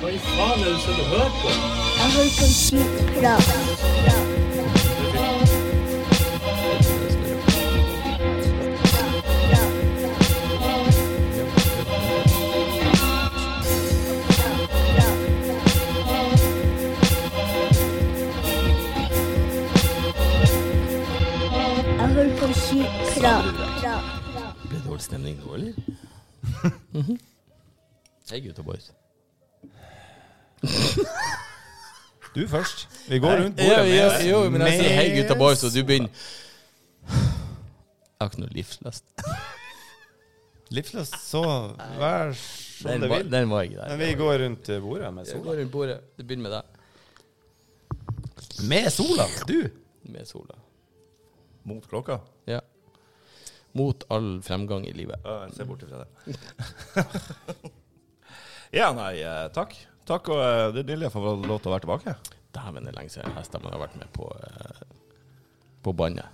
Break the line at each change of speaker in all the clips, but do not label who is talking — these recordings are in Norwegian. Hva i faen er det som du hører på?
Jeg hører på en syk prat. Jeg hører på en syk prat.
Ble det dårlig stemning nå, eller? Mhm. Hei, gutta boys.
Du først. Vi går rundt
Jo,
bordet
jo, jo, men jeg
med-
sier hei, gutta boys, og du begynner Jeg har ikke noe livsløst.
Livsløst, så vær som
Den,
du
var-
vil.
den var ikke der.
Men vi går rundt bordet med
Jeg
sola.
går rundt bordet. Det begynner med deg.
Med sola? Du?
Med sola.
Mot klokka.
Ja. Mot all fremgang i livet.
Ja, jeg ser bort ifra det.
Ja, nei, eh, takk. Takk, og eh, det er deilig å få lov til å være tilbake.
Dæven, det er lenge siden hestene har vært med på eh, På bandet.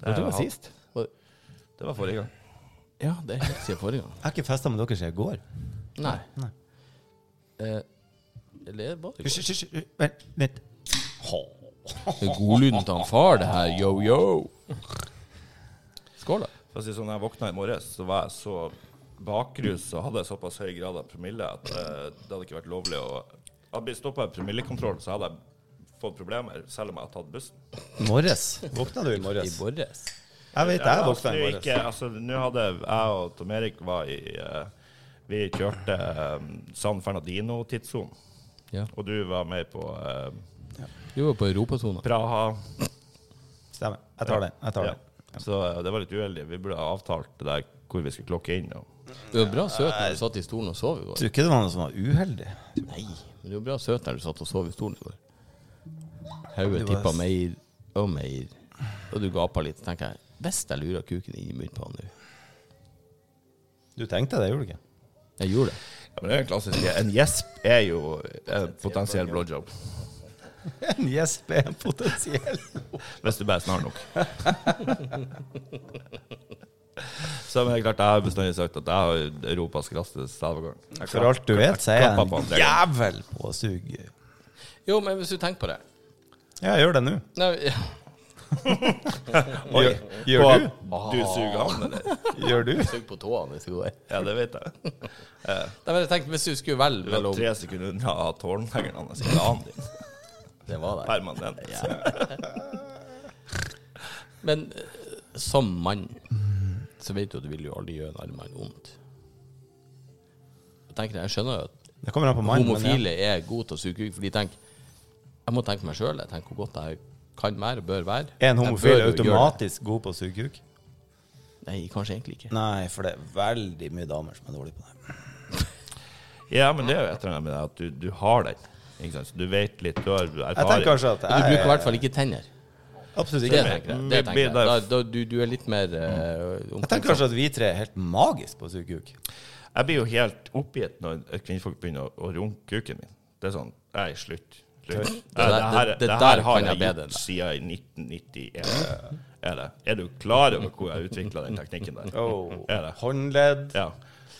Når det var
Eh,
sist?
Det var forrige gang.
Ja, det er helt siden forrige gang.
Jeg har ikke festa med dere siden i går.
Nei.
Nei.
Eh, eller var det
Hysj, hysj, hysj. Vent litt.
Det er godlyden til han far, det her. Yo, yo. Skål, da.
For å si det sånn, når jeg våkna i morges, så var jeg så bakrus og hadde såpass høy grad av promille at eh, det hadde ikke vært lovlig å Hadde blitt stoppa i promillekontrollen, så hadde jeg fått problemer, selv om jeg hadde tatt bussen.
Morges. Våkna du i morges?
morges.
Jeg vet jeg våkna i
Jeg
morges.
gikk, eh, altså, nå hadde jeg og Tom Erik var i eh, Vi kjørte eh, San Fernadino-tidssonen,
Ja.
og du var med på eh,
Du var på europasona.
Praha.
Stemmer. Jeg tar den. Jeg tar
Ja.
den.
Så eh, det var litt uheldig. Vi burde ha avtalt det der hvor vi skulle klokke inn. Og.
Du var bra søt når du satt i stolen og sov i
Jeg
går.
tror ikke det var noe som var uheldig.
Nei, men du var bra søt når du satt og sov i stolen i går. Hodet tippa mer og mer, og du gapa litt. Så tenker jeg hvis jeg lurer kuken inn i munnen på han nå
Du tenkte det, gjorde du ikke?
Jeg gjorde det.
Ja, men det er en klassisk En gjesp er jo en potensiell blowjob.
En gjesp er potensiell.
Hvis du bare er snar nok. Så men det er klart, jeg har bestandig sagt at jeg har Europas raskeste stavgang. Jeg
For
klapp-
alt du vet, så er jeg
klapper på han
en
tre
jævel på å suge.
Jo, men hvis du tenker på det
Ja, jeg gjør det nå.
Nei,
Oi,
Gjør, gjør du? Ah.
på at Du suger han, eller?
Gjør du?
Sug på tåene hvis det går.
Ja, det vet jeg.
Nei, men jeg tenkte hvis du skulle velge
Du var
mellom
tre sekunder unna at tårnleggeren hans er annen din.
Det var det.
Permanent.
Men eh, som mann så vet du at du vil jo aldri gjøre en annen mann vondt. Jeg tenker det, jeg skjønner jo at
Det kommer an på mannen. men
homofile er gode til å suge kuk, for de tenker Jeg må tenke meg sjøl, jeg tenker hvor godt jeg kan være og bør være.
ja. Er en
Jeg
homofil
bør jo gjøre det.
automatisk god på å suge kuk?
Nei, kanskje egentlig ikke.
Nei, for det er veldig mye damer som er dårlige på det.
Ja, men det er jo et eller annet med det at du, du har den. Ikke sant? Så du vet litt, du har erfaring.
Jeg tenker kanskje at
Og du bruker i
jeg
hvert fall ikke tenner.
absolutt
Det
ikke
tenker jeg. Det tenker jeg. Da, da, du, du er litt mer eh,
Mm. Jeg tenker kanskje at vi tre er helt magisk på å suge kuk.
Jeg blir jo helt oppgitt når kvinnfolk begynner å, å runke kuken min. Det er sånn Nei, slutt. slutt. Nei, det, her,
det- det
det
der
her har
kan jeg
jeg
bedre enn
gjort siden i 1991. Er, det. er du klar over hvor jeg utvikla den teknikken der? Er det?
Oh, Håndledd.
Ja.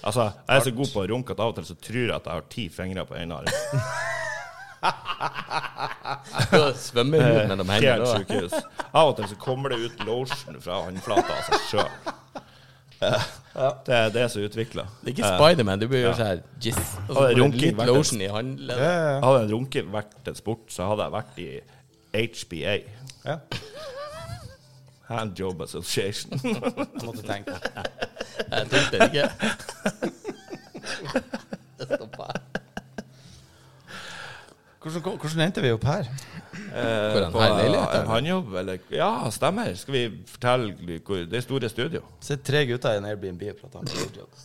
Altså, jeg er så god på å runke at av og til så tror jeg at jeg har ti fingre på ene arm.
Svømmer ut mellom hendene.
Helt
da.
sjukehus. Eh, Av og til så kommer det ut lotion fra håndflata av seg sjøl. Det, det er så utvikla.
Det er ikke Spiderman. Du bør gjøre sånn her jizz. Og så
Og
får du
runking
litt
hvert
lotion i håndleddet.
Hadde en runke vært en sport, så hadde jeg vært i HBA.
Ja.
Handjob Association.
Måtte tenke.
Jeg tok den ikke. Det stoppa jeg.
Hvordan, hvordan endte vi opp her?
For en
På
herlig leilighet.
en handjobb, eller Ja, stemmer. Skal vi fortelle hvor Det er store studio.
Sitter tre gutter i en Airbnb og prater om suge jokes.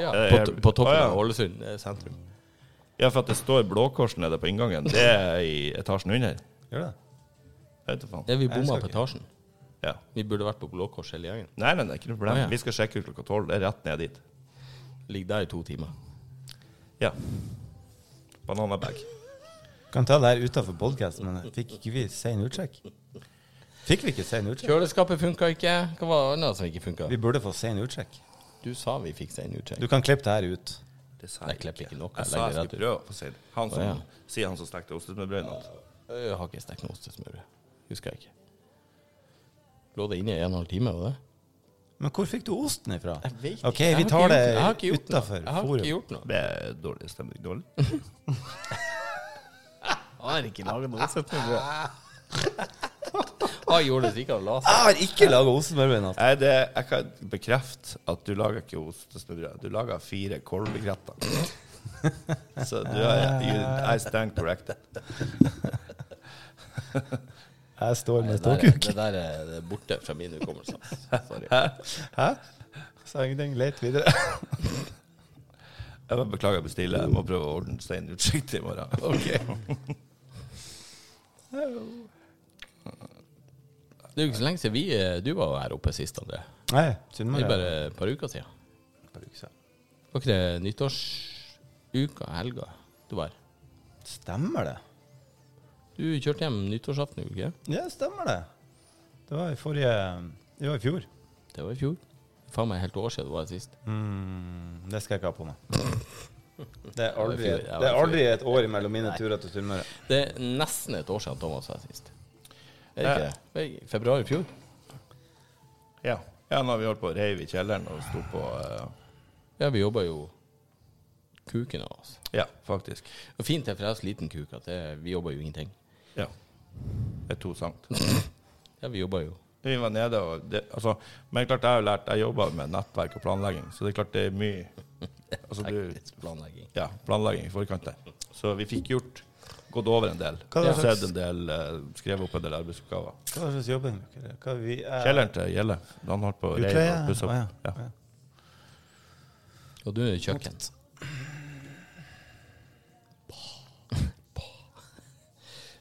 Ja,
Eh,
på, to- på
å,
toppen
ja.
av Ålesund eh, sentrum.
Ja, for at det står Blå Kors nede på inngangen. Det er i etasjen under.
Gjør det?
Jeg vet da faen.
Ja, vi bomma
skal
på etasjen.
Ja.
Vi burde vært på Blå Kors hele gjengen.
Nei, nei, det er ikke noe problem.
Å, ja.
Vi skal sjekke ut klokka tolv. Det er rett ned dit.
Ligger der i to timer.
Ja. Bananabag.
Kan ta det her utenfor podcast, men fikk ikke vi sein utsjekk? Fikk vi ikke sein utsjekk?
Kjøleskapet funka ikke. Hva var det annet som ikke funka?
Vi burde få sein utsjekk.
Du sa vi fikk seg en utsjekk.
Du kan klippe det her ut.
Det sa
Nei,
jeg
klipper ikke noe,
Jeg sa jeg
legger rett ut.
skulle prøve å si det. Han som,
Å, ja.
Sier han som stekte ostesmørbrød i natt.
Jeg har ikke stekt noe ostesmørbrød. Husker jeg ikke. Lå det inne i en og en halv time? var det?
Men hvor fikk du osten ifra?
vet
OK,
ikke.
vi
Jeg har
tar
ikke
det
gjort- jeg har ikke gjort noe.
utafor
Jeg har ikke
forum.
gjort noe.
Det er dårlig stemning. Dårlig.
Har ikke laga noe ostesmørbrød. Har gjort Ah, det sikkert av laser.
Jeg har ikke laga ostesmørbrød i natt.
Nei, det, jeg kan bekrefte at du lager ikke ostesmørbrød. Du lager fire kålbegretter. Så du er you, I stand corrected.
Jeg står med
Det der,
ståkuk.
det der er det er borte fra min hukommelse. Sorry.
Hæ? Sa ingenting. Let videre.
Jeg bare beklager å bestille. Jeg må prøve å ordne stein utsikt i morgen.
Det er jo ikke så lenge siden vi, eh, du var her oppe sist, André. Det
Nei,
er
Sunnmøre.
bare et par uker siden. Var ikke det nyttårsuka, helga, du var her?
Stemmer det?
Du kjørte hjem nyttårsaften, gjorde du ikke?
Ja, stemmer det. Det var i forrige Det var i fjor.
Det var i fjor. Faen meg helt år siden det var sist.
Mm, det skal jeg ikke ha på meg. Det
Det
er aldri,
var i fjor, ja,
det
det
er
var i
aldri et år mellom mine turer til Sunnmøre.
Det er nesten et år siden Thomas var her sist. Er det ikke det? det? er I februar i fjor?
Ja. ja, nå har vi holdt på å reive i kjelleren og sto på eh,
Ja, vi jobba jo kuken av oss.
Ja, faktisk.
Og fint det er for jeg har så liten kuk at det, vi jobba jo ingenting.
Ja. Det er to sankt.
Ja, vi jobba jo.
Vi var nede og det, altså, Men klart, jeg har jo lært Jeg jobber med nettverk og planlegging, så det er klart det er mye altså, du,
Teknisk planlegging.
Ja, planlegging i forkant der. Så vi fikk gjort Gått over en del.
Hva er det slags-
Sett en del, eh, skrevet opp en del arbeidsoppgaver.
Hva slags jobb er det? Hva vi er
Kjelleren til Gjelle. Han holdt på å reive
Utleie?
og pusse
Å, ja.
opp. Ja.
Å, ja.
Og du er kjøkken.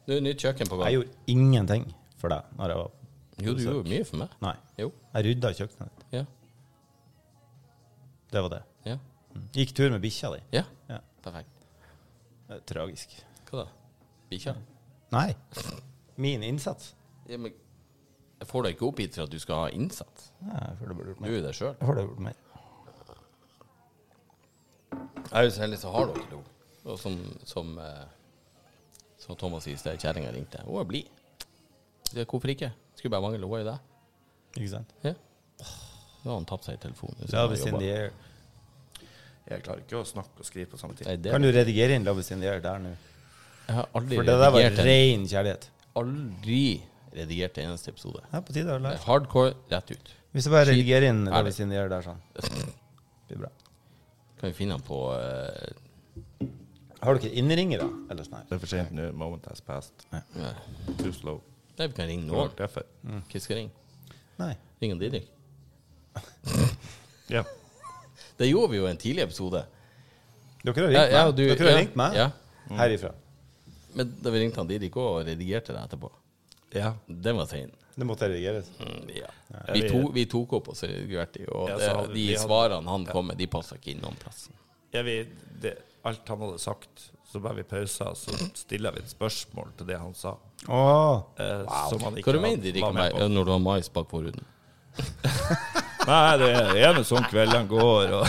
Nå er nytt kjøkken på
Jeg
gang.
gjorde ingenting for deg når jeg var
Jo, du gjorde mye for meg.
Nei.
Jo.
Jeg rydda i kjøkkenet ditt.
Ja.
Det var det.
Ja.
Gikk tur med bikkja di.
ja.
Ja.
Perfekt.
Det er Tragisk.
Hva da? Bikkja?
Nei. Min innsats.
Ja, men jeg får deg ikke opp hit for at du skal ha innsats.
Nei, jeg føler det burde gjort
Du
mer.
er deg sjøl.
Jeg føler det burde gjort mer.
Jeg er jo så heldig som har dere to. Og som, som, eh, som Thomas sier, det er kjerringa ringte. Hun er blid. Ja, Hvorfor ikke? Skulle bare mangle, hun er jo det.
Ikke sant?
Ja. Nå har han tapt seg i telefonen. så
Love is
han
in
jobber.
the air.
Jeg klarer ikke å snakke og skrive på samme tid.
Nei, det,
Kan du redigere inn Love is in the air der nå?
jeg har aldri
For det der var
redigert en
ren kjærlighet.
aldri redigert en eneste episode.
Det er på tide
Det
å
er
lære.
hardcore rett ut.
Hvis jeg bare redigerer inn
Ferdig.
Love is in the air der sånn. Det blir bra.
Kan vi finne den på eh,
Har dere innringere? Eller sånn her?
Det er for sent nå. Moment has passed.
Nei,
Too slow.
Nei, vi kan ringe
Nå
noen.
ble jeg for.
Hvem skal ringe?
Nei.
Ring han Didrik.
Ja.
Det gjorde vi jo i en tidlig episode.
Dere har ringt
Ja,
meg.
ja, og du-
dere har
ja,
ringt meg Mm.
ja.
herifra.
Men da vi ringte han Didrik òg og redigerte det etterpå.
ja.
Den var sein.
Det måtte redigeres.
Ja.
Ja,
Vi,
vi-
to, vi tok opp og så redigerte vi, og
Ja, så
det,
hadde-
de
vi hadde-
svarene han kom med, de passa ikke inn noen plass.
Ja, vi, det, alt han hadde sagt, så bare vi pausa, så stiller vi et spørsmål til det han sa.
Åh.
Eh, Som han
Hva
ikke
du mener Didrik
var
om meg
med på.
når du har mais bak forhuden?
Nei, det er ene sånn kveldene går, og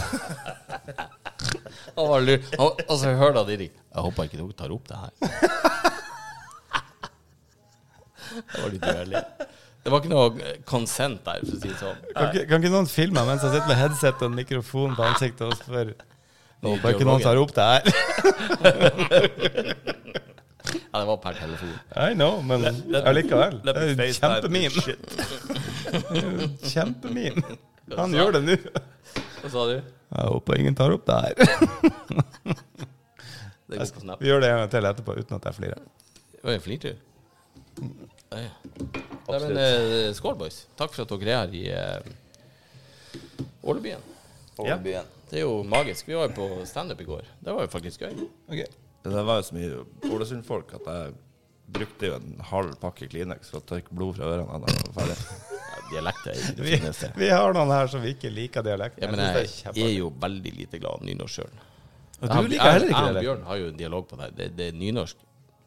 Han var lur. Og, og så hører da Didrik Jeg håper ikke dere tar opp det her. Det var litt uærlig. Det var ikke noe consent der, for å si det sånn.
Kan, ikke- kan ikke noen filme meg mens jeg sitter med headset og mikrofon på ansiktet og spør Nå håper jeg ikke noen tar opp det her.
Ja, det var per telefon.
I know, men allikevel. Det
Let me
er jo
FaceTime this
kjempememe.
shit.
Kjempememe. Han gjør det nå.
Hva sa du?
Jeg håper ingen tar opp det her.
Det går på snap.
Vi gjør det en gang til etterpå uten at jeg flirer.
Oi, flirte du? Nei, Nei, men eh, skål, boys. Takk for at dere er her i eh, Ålebyen.
Ja.
Det er jo magisk. Vi var jo på standup i går. Det var jo faktisk gøy.
Ok.
Det var jo så mye Ålesund-folk at jeg brukte jo en halv pakke Kleenex for å tørke blod fra ørene da jeg var ferdig.
Ja, dialekt er det
Vi,
fineste.
vi har noen her som ikke liker dialekten.
Ja, men
Jeg
jeg
synes det er
er
kjempe-
jo veldig lite glad i nynorsk sjøl.
Og du liker
Jeg og
heller ikke dialekt.
Bjørn har jo en dialog på det. her. Det, det nynorsk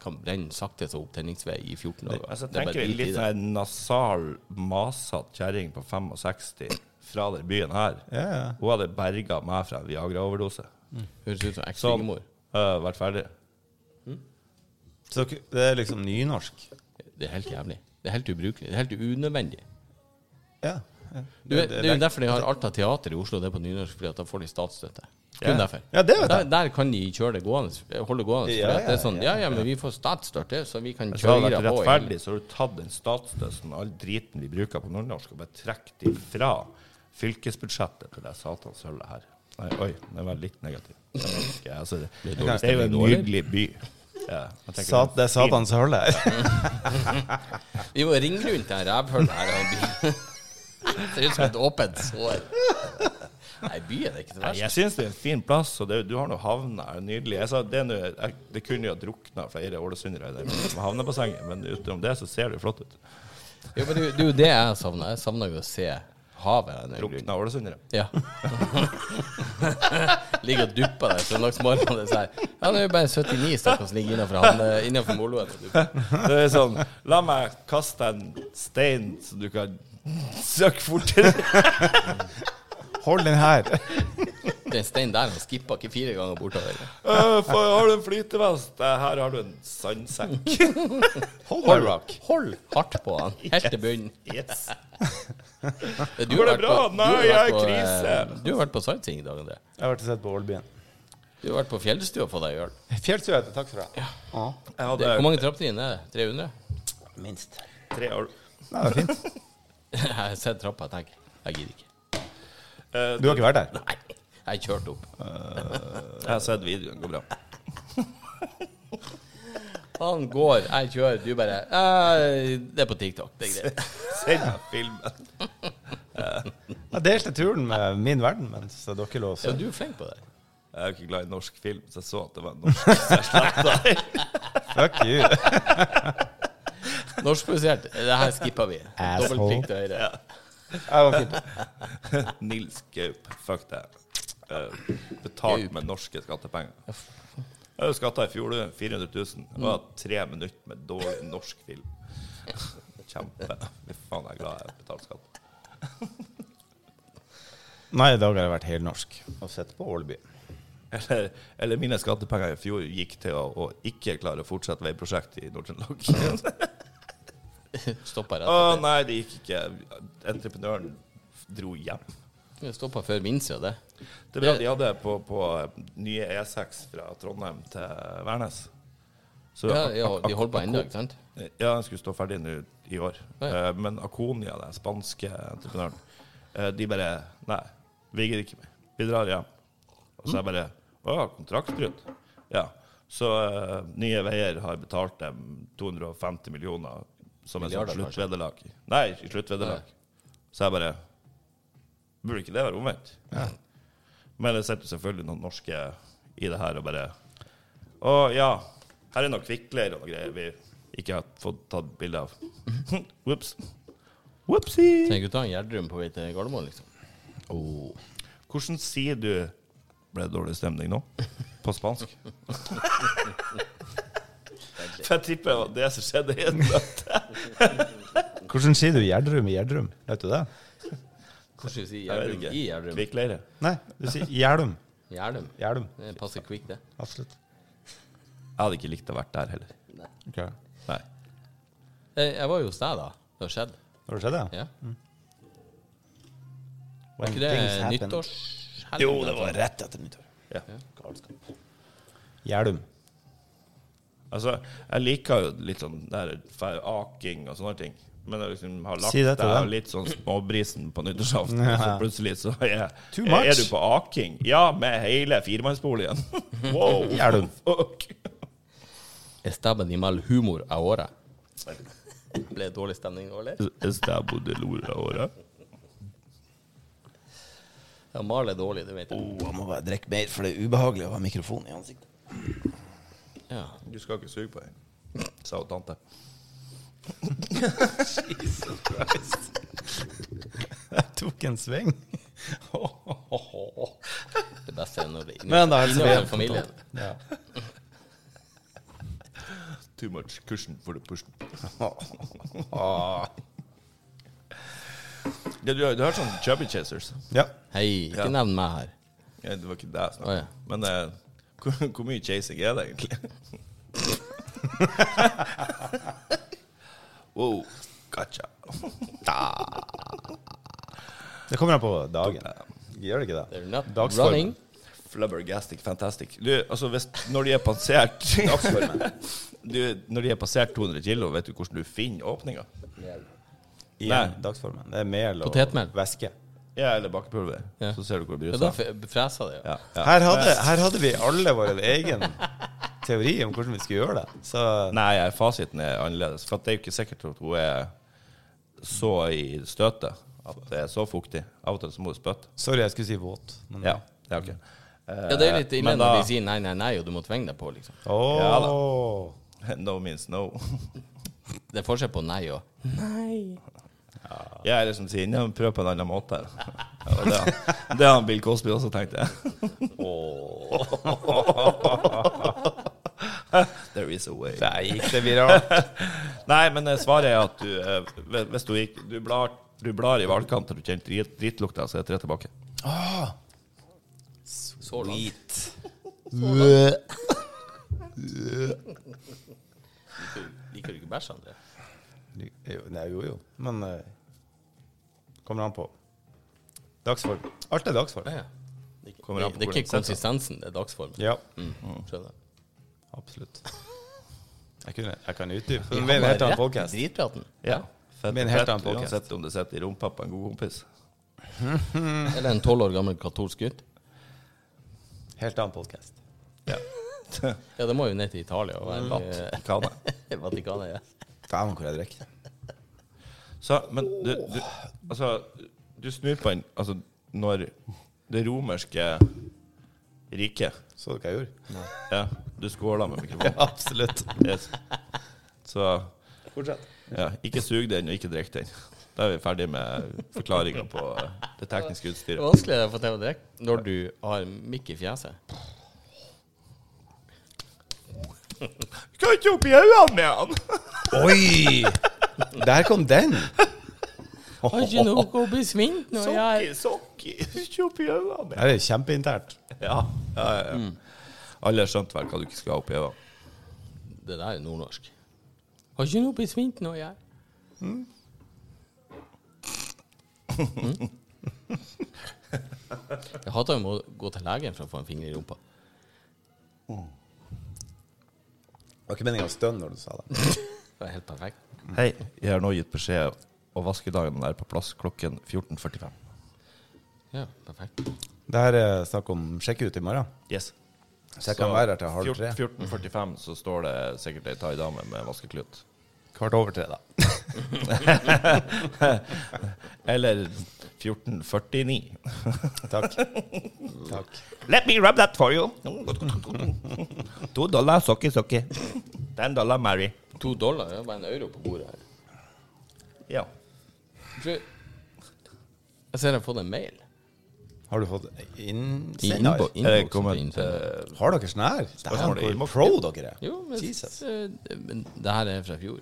kan brenne sakte som opptenningsvei i 14 år.
Altså,
sånn
Det er bare
tenker vi
drit i
litt
det.
sånn nasal, masete kjerring på 65 fra den byen her,
Ja, ja.
hun hadde berga meg fra en Viagra-overdose.
Høres ut som
Sånn.
ekslingemor.
øh, vært ferdig.
Så dere- det er liksom nynorsk?
Det er helt jævlig. Det er helt ubrukelig. Det er helt unødvendig.
Ja. ja.
Du, det, er jo derfor de har Alta Teater i Oslo, det er på nynorsk, fordi at da får de statsstøtte. Kun
Ja.
derfor.
Ja, det vet
der, der kan de kjøre det gående, holde det gående. fordi at
Ja,
det er
ja, Altså,
sånn, ja, ja, men vi får statsstøtte, så vi kan
Så hadde
kjøre
det vært
på.
rettferdig, så har du tatt den statsstøtten og all driten de bruker på nordnorsk, og bare trukket det fra fylkesbudsjettet til det satans sølvet her. Nei, oi, den var litt negativ. Jeg vet ikke, altså, det, det er jo en nydelig by. Ja, jeg tenker
Sat, det er satans høl her.
Vi må ringe rundt det her rævhullet her. og by- Det ser ut som et åpent sår. Nei, byen er ikke det
Nei,
verste.
jeg syns det er en fin plass, og det, du har nå havna her. Nydelig. Jeg sa, det, er nå- jeg, det kunne jo ha drukna flere ålesundere i det som havnebassenget, men utenom det så ser det jo flott ut.
Jo, men det er jo- det er jo det jeg savner. Jeg savner jo å se havet. av en eller annen grunn.
Drukna ålesundere.
Ja. ligger og dupper der søndagsmorgenen og sier Ja, det er jo bare 79 stykker som ligger innenfor, han- eh, innenfor moloen. og dupper.
Det er sånn La meg kaste en stein, så du kan søke fortere.
Hold den her.
Den steinen der han skippa ikke fire ganger bortover.
Øh, for, har du en flytevest? Eh, Her har du en sandsekk.
Hold rock.
Hold hardt på han, helt til bunnen.
Yes. Går det
Du har vært
bra?
på- du
Nei,
har vært
jeg er i
på,
krise.
eh, Du har vært på sightseeing i dag, André.
Jeg har vært og sett på Ålbyen.
Du har vært på fjellstua og fått deg øl.
Fjellstue heter det, takk skal du ha.
Jeg
Det, hvor
hadde
mange trappetrinn er det? 300?
Minst.
tre år.
Nei, det er fint.
Jeg har sett trappa og tenker jeg gidder ikke.
Eh,
Du har ikke vært der?
Nei, jeg kjørte opp.
Jeg har sett videoen. Går bra.
Han går, jeg kjører, du bare eh, Det er på TikTok, det er greit.
Send meg filmen.
Jeg delte turen med min verden, mens dere lå og
Ja,
så.
du er flink på det.
Jeg er jo ikke glad i norsk film, så jeg så at det var en norsk. Så jeg slettet.
Fuck you.
Norskprodusert. Det her skippa vi.
Asshole.
Dobbelt prikk til høyre.
Jeg var fint.
Nils Gaup. Fuck det. Eh, Betalt med norske skattepenger. Jeg skatta i fjor du, 400 000. Det var tre minutter med dårlig norsk film. Kjempe. Fy faen, jeg er glad jeg betalte skatt.
Nei, i dag har jeg vært helnorsk og sett på Ålbyen.
Eller, eller mine skattepenger i fjor gikk til å, å ikke klare å fortsette veiprosjektet i Nord-Trøndelag.
Stoppa
Å
rett etter.
nei, det gikk ikke. Entreprenøren dro hjem.
Vi Stoppa før Vinsja, det.
Det bra de hadde på, på eh, nye E6 fra Trondheim til Værnes. Så
Ja,
ak-
ja,
ak-
de holder på ennå, ikke sant?
Eh, Ja, den skulle stå ferdig nå i år.
Ja,
Eh, Men Aconia, den spanske entreprenøren, eh, de bare Nei, vi gidder ikke mer. Vi drar hjem. Og så er jeg bare Å ja, kontraktbrudd? Ja. Så eh, Nye Veier har betalt dem 250 millioner som et sånt
Milliarder, kanskje?
sluttvederlag. Nei, ikke sluttvederlag. Så jeg bare Burde ikke det være omvendt? Men det sitter jo selvfølgelig noen norske i det her og bare Å ja, her er noe kvikkleir og noe greier vi ikke har fått tatt bilde av. Ops. Whoopsie.
Trenger ikke ta en Gjerdrum på vei til Gardermoen, liksom.
Hvordan sier du ble det dårlig stemning nå? På spansk? For jeg tipper det var det som skjedde. i et møte.
Hvordan sier du Gjerdrum i Gjerdrum? Vet du det?
Hvordan sier
Jeg
Gjerdrum
vet
i
ikke.
Gjerdrum?
Kvikkleire.
Nei, du sier Gjerdum.
Gjerdrum.
Gjerdum.
Det passer kvikt, det.
Absolutt.
Jeg hadde ikke likt å vært der heller.
Ok. Har
Nei.
Eh, Jeg var jo hos deg da det skjedde.
du sett det?
Ja.
When
Ikke det altså?
things happen.
nyttårs...
Jo, det var rett etter nyttår.
Ja.
Gjerdum.
Altså, jeg liker jo litt sånn der fe- aking og sånne ting. Men jeg liksom har lagt
Si det til
deg
dem.
litt sånn småbrisen på nyttårsaften,
Ja.
og så plutselig så er, jeg-
Too
er
much.
du på aking. Ja, med hele firemannsboligen. Wow!
Er du?
Fuck.
Estaben i mal humor ahora. Ble det dårlig stemning nå, eller?
Estabo de Lora Ora.
Ja, mal er dårlig, det vet jeg.
Oh, jeg må bare drikke mer, for det er ubehagelig å ha mikrofon i ansiktet.
Ja.
Du skal ikke suge på en, sa hun tante.
Jeg tok en sving.
Det beste er når det er
Men da hilser vi
innover
hjem.
familien.
Ja.
Too much cushion for the push. Ah. Ja, du, har- du har hørt sånn Chubby Chasers.
Ja.
Hei, ikke
Ja.
nevn meg her.
Ja, det var ikke det jeg snakket om.
Å, ja.
Men eh, hvor, hvor mye chasing er det egentlig? wow, gotcha.
Det kommer an på dagen. Gjør det ikke
They're
det?
not
Dagsform.
running.
Flubbergastic, fantastic. Du, altså hvis, når de er passert du, Når de er passert 200 kilo, vet du hvordan du finner åpninga?
Igjen,
Nei.
dagsformen. Det er mel og
Potetmel.
væske.
Ja, eller bakepulver.
Ja.
Så ser du hvor det
Det er
bruser.
derfor jeg fresa det.
Ja, ja.
Her hadde, her hadde vi alle vår egen teori om hvordan vi skulle gjøre det. Så
Nei, jeg- fasiten er annerledes. For at det er jo ikke sikkert at hun er så i støtet at det er så fuktig. Av og til så må du spytte.
sorry, jeg skulle si våt. Men,
Ja, det er ok. Eh,
Ja, det er litt ille
men
når
da-
de sier nei, nei, nei, og du må tvinge deg på, liksom.
Åh.
Ja No means no.
Det er forskjell på nei og
Jeg er liksom sier, «Nei, men prøv på en annen måte. Ja, og det, det har Bill Cosby også tenkt, jeg. There is a way.
Der gikk det viralt.
Nei, men eh, svaret er at du, eh, hvis- hvis du, gikk, du, blar, du blar i valgkant og du kjenner drit, dritlukta, så er tre tilbake.
så langt. Liker du ikke bæsj, André?
Jo, Nei, jo, jo. Men eh, kommer an på. Dagsform. Alt er dagsform.
Ja, ja. Det er ikke-
Kommer an på
det er ikke
hvordan det
konsistensen, det er dagsformen. Mm.
Ja,
Skjønner.
absolutt. Jeg, kunne, jeg kan utdype.
Vi
Det blir en helt
havner
annen
rett i
podcast.
Dritpraten.
Ja. Fett,
Med en helt
fett,
annen podcast.
Uansett om det sitter i rumpa på en god kompis.
Eller en tolv år gammel katolsk gutt.
Helt annen podcast.
Ja.
Ja, det må jo ned til Italia og være i
Kana.
eh, Vatikanet. Ja.
Dæven, hvor jeg drikker.
Så, men du, du Altså, du snur på en Altså, når det romerske riket
Så du hva jeg gjorde?
Ja, du skåla med mikrofonen.
Absolutt.
Yes. Så
Fortsett.
ja, ikke sug den, og ikke drikk den. Da er vi ferdig med forklaringa på eh, det tekniske
Det er
utstyret.
vanskeligere å få til å drikke når du har mikk i fjeset.
Kan ikke opp i øynene med han!
Oi! Der kom den.
Har ikke nok å bli sminket når jeg
sokki, ikke opp i øynene.
Det er kjempeinternt.
Ja, ja, ja. ja.
Mm.
Alle har skjønt vel hva du ikke skal ha opp i øynene.
Det der er nordnorsk. Har ikke nok å bli sminket når jeg Jeg hater jo å gå til legen for å få en finger i rumpa.
Det var ikke meningen å stønne når du sa det.
Det er helt perfekt.
Hei, jeg har nå gitt beskjed, og vaskedagen er på plass klokken 14.45.
Ja, perfekt.
Det her er snakk om sjekke ut i morgen.
Yes.
Så jeg kan være her til halv tre.
14.45 så står det sikkert ei thaidame med vaskeklut.
Kvart over tre, da.
Eller 14.49.
Takk. Takk.
Let me rub that for you. Two dollar socky socky. Ten dollar Mary.
To dollar det er bare en euro på bordet her.
Ja.
Tror- Jeg ser jeg har fått en mail.
Har du fått
I
innsender?
innbo-
Er det
innboksen
kommet,
til Innsender.
Har dere sånn her?
Spørsmål i
Dæven, hvor pro dere er.
Jo, men,
Jesus.
eh, men det her er fra fjor.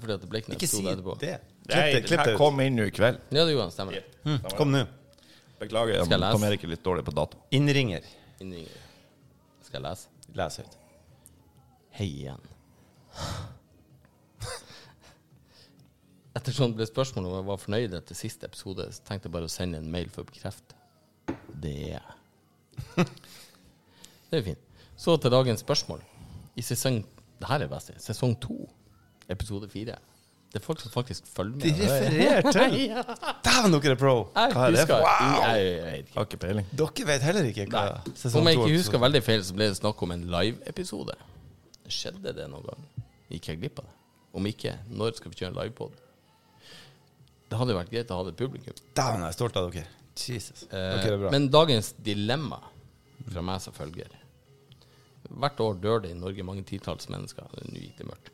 Fordi at det ble ikke noe
Ikke si
episode
det.
etterpå.
Nei, den
Klipp det, klipp
her
det ut.
kom inn nå i kveld.
Ja, det gjorde han. Stemmer. det.
Hmm.
Kom nå.
Beklager,
Skal jeg lese?
Tom Erik er litt dårlig på dato.
Innringer.
Innringer. Skal jeg lese?
Les høyt.
Hei igjen. Ettersom det sånn ble spørsmål om jeg var fornøyd etter siste episode, så tenkte jeg bare å sende en mail for å bekrefte. Det er jeg. Det er fint. Så til dagens spørsmål. I sesong Det her er det beste. Sesong to, episode fire. Det er folk som faktisk følger med.
De refererer til Dæven, dere er pro!
Jeg
Hva er det
husker
for
jeg, jeg, jeg,
Har ikke peiling.
Dere vet heller ikke hva
Om jeg
to
ikke
episode-
husker veldig feil, så ble det snakk om en live-episode. Skjedde det noen gang? Gikk jeg glipp av det? Om ikke, når skal vi kjøre en livepod? Det hadde vært greit å ha det publikum.
Dæven, jeg er stolt av dere. Jesus.
Eh,
Dere er bra.
men dagens dilemma fra meg som følger Hvert år dør det i Norge mange titalls mennesker. Nå gikk det mørkt.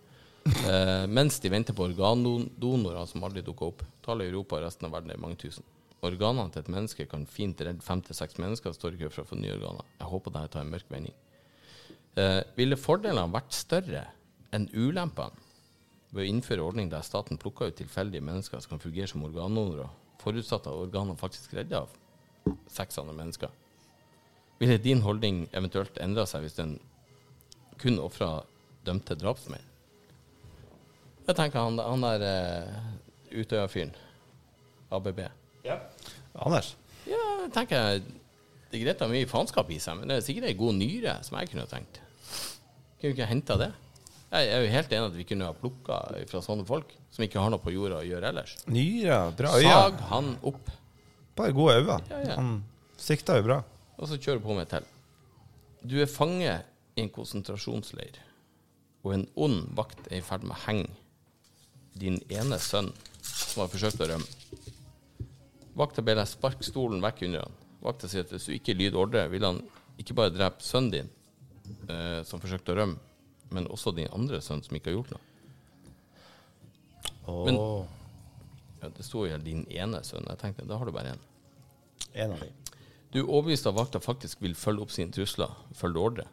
Eh, mens de venter på organdonorer som aldri dukker opp. Tallet i Europa og resten av verden er mange tusen. Organene til et menneske kan fint redde fem til seks mennesker som står i kø for å få nye organer. Jeg håper dette tar en mørk vending. Eh, ville fordelene vært større enn ulempene ved å innføre ordning der staten plukker ut tilfeldige mennesker som kan fungere som organdonorer, forutsatt at organene faktisk redda seks andre mennesker. Ville din holdning eventuelt endra seg hvis den kun ofra dømte drapsmenn? Jeg tenker han, han der eh, Utøya-fyren, ABB.
Ja.
Anders.
Ja, jeg tenker jeg Det er greit å ha mye faenskap i seg, men det er sikkert ei god nyre som jeg kunne ha tenkt. Kunne vi ikke henta det? Jeg er jo helt enig at vi kunne ha plukka fra sånne folk, som ikke har noe på jorda å gjøre ellers.
Nyre. Bra
Sag han opp,
Bare gode øyne.
Ja, ja.
Han sikta jo bra.
og så kjører du på med et til. Du er fange i en konsentrasjonsleir, og en ond vakt er i ferd med å henge din ene sønn, som har forsøkt å rømme. Vakta ber deg sparke stolen vekk under han. Vakta sier at hvis du ikke lyder ordre, vil han ikke bare drepe sønnen din, eh, som forsøkte å rømme, men også din andre sønn, som ikke har gjort noe. Men ja, det sto jo din ene sønn. Jeg tenkte, da har du bare én.
En av de.
Du er overbevist av at vakta faktisk vil følge opp sine trusler, følge ordre.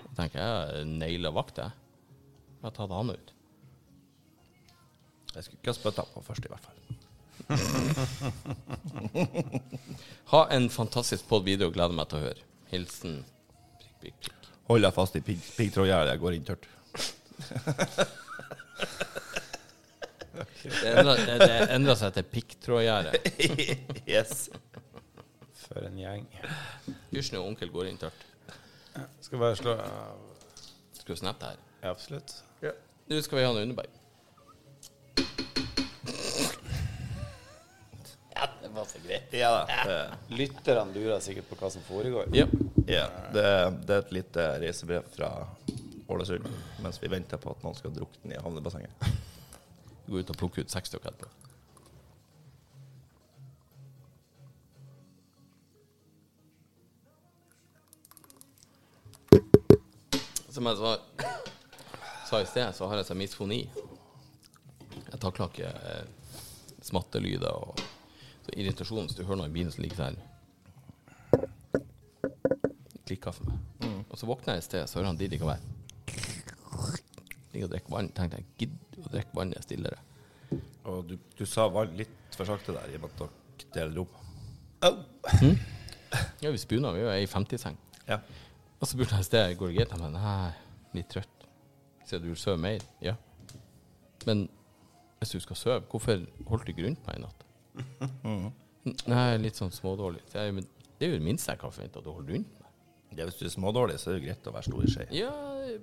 Da tenker jeg naila vakta. jeg. Jeg har tatt han ut.
Jeg skulle ikke ha spytta på først, i hvert fall.
Ha en fantastisk podd videre og gleder meg til å høre. Hilsen prikk, prikk, prikk.
Hold deg fast i pigg- piggtrådgjerdet, jeg går inn tørt.
Det endra, det, det endra seg til pikktrådgjerde.
yes.
For en gjeng.
Hysjen og onkel går inn tørt.
Skal bare slå
Skal du snappe det her?
Ja, absolutt.
Nå skal vi ha en Underberg. Ja, det var så greit.
Ja da. Det,
Lytterne lurer sikkert på hva som foregår.
Ja.
ja. Det, det er et lite reisebrev fra Ålesund mens vi venter på at noen skal drukne i havnebassenget.
Gå ut og plukke ut seks stykker etterpå. Som jeg sa, sa i sted, så har jeg så misfoni. Jeg takler ikke eh, smattelyder og så irritasjon. Hvis du hører noe i bilen som ligger sånn der Klikka for meg. Og så våkner jeg i sted, så hører han Didi komme her. Ligger og drikker vann. Tenkte jeg gidder å drikke vannet stillere.
Og du, du sa vann litt for sakte der, i og med at dere deler rom.
Ja, vi spuna, vi er i 50-seng.
Ja.
Og så spurte jeg i sted går det greit. Jeg bare nei, litt trøtt. Sier du vil sove mer? Ja. Men hvis du skal sove, hvorfor holdt du ikke rundt meg i natt? N- Nei, litt sånn smådårlig. Så jeg, men det er jo det minste jeg kan forvente, at du holder rundt meg.
Ja, hvis du er smådårlig, så er det jo greit å være stor i skje.
Ja,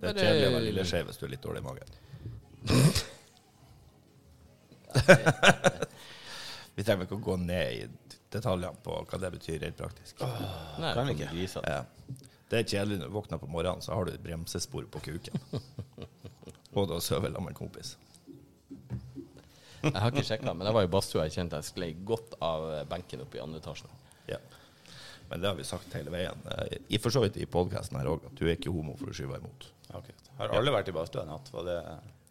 Det er kjedelig å være lille skje hvis du er litt dårlig i magen. Vi trenger ikke å gå ned i detaljene på hva det betyr rent praktisk.
Nei, kan ikke. Griser.
Ja. Det er kjedelig når du våkner på morgenen, så har du et bremsespor på kuken. Og da sover jeg sammen med en kompis.
Jeg har ikke sjekka, men jeg var i badstua. Jeg kjente jeg sklei godt av eh, benken oppe i andre etasjen.
Ja. Men det har vi sagt hele veien. eh, I for så vidt i podkasten her òg, at du er ikke homo for du skyver imot.
Ok. Har alle vært i badstua i natt? Var det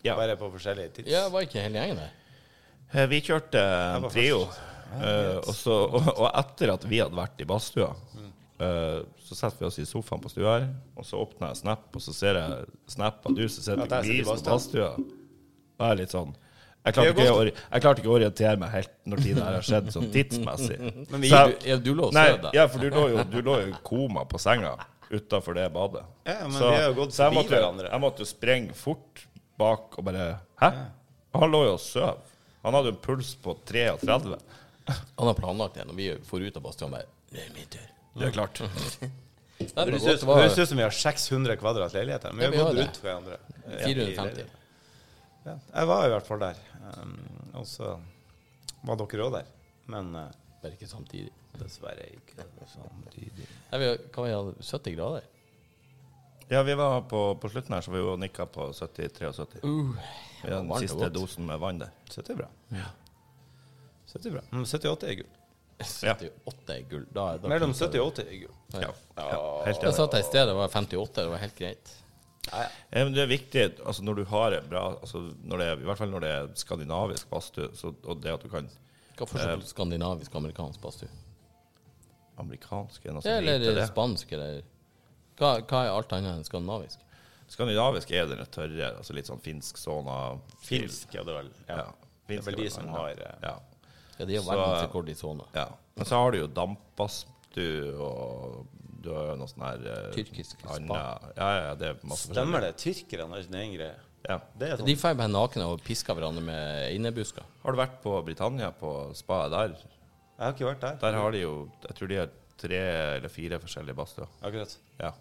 Ja.
bare på forskjellige tids?
Ja, var ikke hele gjengen der?
Eh, Vi kjørte eh, en
var
trio, eh, og, så, og, og etter at vi hadde vært i badstua, eh, så setter vi oss i sofaen på stua her, og så åpner jeg Snap, og så ser jeg Snap av du som sitter
Ja, der
og
sitter
gliser på
badstua.
badstua. Og jeg er litt sånn jeg klarte, ikke, å ori- jeg klarte ikke å orientere meg helt når tiden her har skjedd, sånn tidsmessig.
Men vi-
Så jeg-
du- ja, du lå og
Nei,
sov da.
Ja, for du lå jo, du lå jo i koma på senga utafor det badet.
Ja, ja, men vi har jo gått
så jeg
forbi
måtte, jo-
hverandre.
Jeg måtte jo sprenge fort bak og bare Hæ? Han lå jo og sov. Han hadde jo en puls på 33.
Han har planlagt det. Når vi for ut av badstuen, bare Det er min tur.
Det er klart.
Nei, men
Det
godt,
høres
det
ut-
var-
høres ut som vi har 600 kvadrat leiligheter. Men
Ja,
vi
vi
har gått
har
rundt hverandre. Ja, i
450.
leilighet. Ja, jeg var i hvert fall der. Um, og så var dere òg der. Men eh,
Bare ikke samtidig.
dessverre ikke samtidig.
Nei, vi, har- kan vi ha 70 grader?
Ja, vi var på, på slutten her, så vi jo nikka på 70-73. Vi hadde
varmt og
Uh, den siste
godt.
dosen med vann der.
70 bra. 70 bra. Mm, 78 er gull.
78 er gull. Da, da
Mellom 70 og 80 er gull.
Ja. ja helt
Jeg
Altså-
enig.
satt her i sted, det var 58, det var helt greit.
Ja, men det er viktig altså når du har en bra altså når det er, I hvert fall når det er skandinavisk badstue, så- og det at du kan
Hva er forskjellen på skandinavisk og amerikansk badstue?
amerikansk er noe som lite
Eller
det.
spansk, eller hva, hva er alt annet enn skandinavisk?
Skandinavisk er den tørre, altså litt sånn finsk sauna.
Finsk er det vel. Ja.
Ja.
Det er vel de som har eh,
Ja.
Ja, det er jo
Så-
verdensrekord i sona.
Ja. Men så har du jo dampbastu, og du har jo noe sånn her eh,
Tyrkisk spa.
anna- Ja, ja, det er masse
Stemmer det? Tyrkerne har sin egen greie.
Ja.
Det er
De
sånn.
drar bare nakne og pisker hverandre med innebusker.
Har du vært på Britannia, på spaet der?
Jeg har ikke vært der.
Der har de jo Jeg tror de har tre eller fire forskjellige badstuer.
Akkurat.
Ja.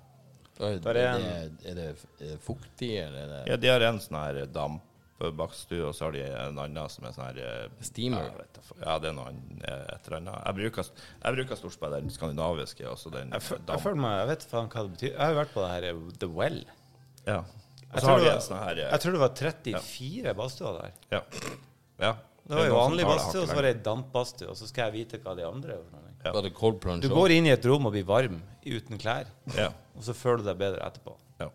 Er
Der
det,
er
er det, er det fuktig, eller er det
ja, de har en sånn her dampbakstue, og så har de en annen som er sånn her eh,
Steamer.
Ja, vet jeg for- ja, det er noe annet, eh, et eller annet. Jeg bruker, jeg bruker stort sett den skandinaviske, altså den
Jeg, føl- jeg
damp...
føler meg Jeg vet faen hva det betyr. Jeg har jo vært på det her eh, The Well.
Ja. Og
Jeg
så
tror,
har de
det
en sånn
var,
her eh,
jeg tror det var 34 badstuer der.
Ja. ja.
Det var
er
jo
noen som
vanlig
tar det
badstue, og
hakket
så var det ei dampbadstue, og så skal jeg vite hva de andre er. for noe.
Ja.
Var det cold plunge
Du
også?
går inn i et rom og blir varm uten klær,
lenger. Ja.
og så føler du deg bedre etterpå.
Ja.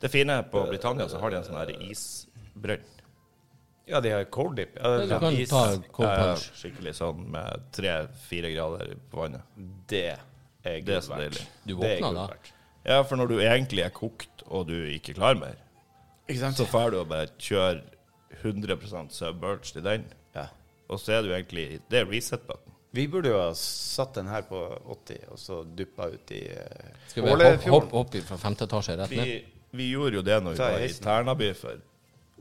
Det fine er på Britannia så har de en sånn her isbrønn.
Ja, de har cold dip. Ja,
Ja,
det,
du kan
is.
ta cold
Eh,
plunge.
Skikkelig sånn med tre-fire grader på vannet.
det er
Det er
gull
så
verdt.
deilig.
Du
Det er
våkner
gull
da.
verdt.
Ja, for når du egentlig er kokt og du ikke klarer mer, så får du å bare kjøre 100 submerged i den,
Ja.
og så er du egentlig Det er reset button.
Vi burde jo ha satt den her på 80, og så duppa ut i eh,
Skal vi hoppe hopp, hopp fra femte etasje rett ned?
Vi, vi gjorde jo det når vi
Ta
var i
heisen.
Ternaby for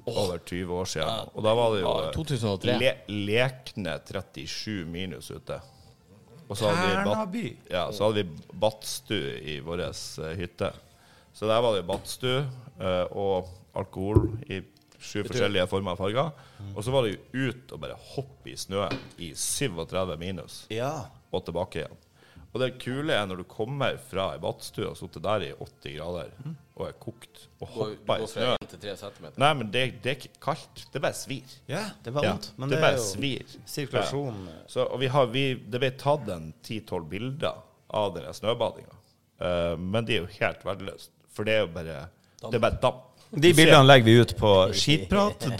over 20 år siden, og da var det jo
Ja, 2003.
le, lekne 37 minus ute. Og så hadde vi bat-
Ternaby?
Ja, så hadde vi badstue i vår eh, hytte. Så der var det badstue eh, og alkohol i sju forskjellige former og farger. Og så var det jo ut og bare hoppe i snøen i 37 minus
Ja.
og tilbake igjen. Og det kule er når du kommer fra ei badstue og sitter der i 80 grader
Mm.
og er kokt og hopper i snø.
til 3 cm.
Nei, men det, det er ikke kaldt. Det bare svir.
ja. Det var
Ja,
vondt, men
det
det,
bare
er jo
svir.
sirkulasjon
Så, og vi har, vi, det ble tatt en 10-12 bilder av den snøbadinga, Eh, men de er jo helt verdiløse. For det er jo bare Det er bare damp.
De bildene legger vi ut på skitprat.no.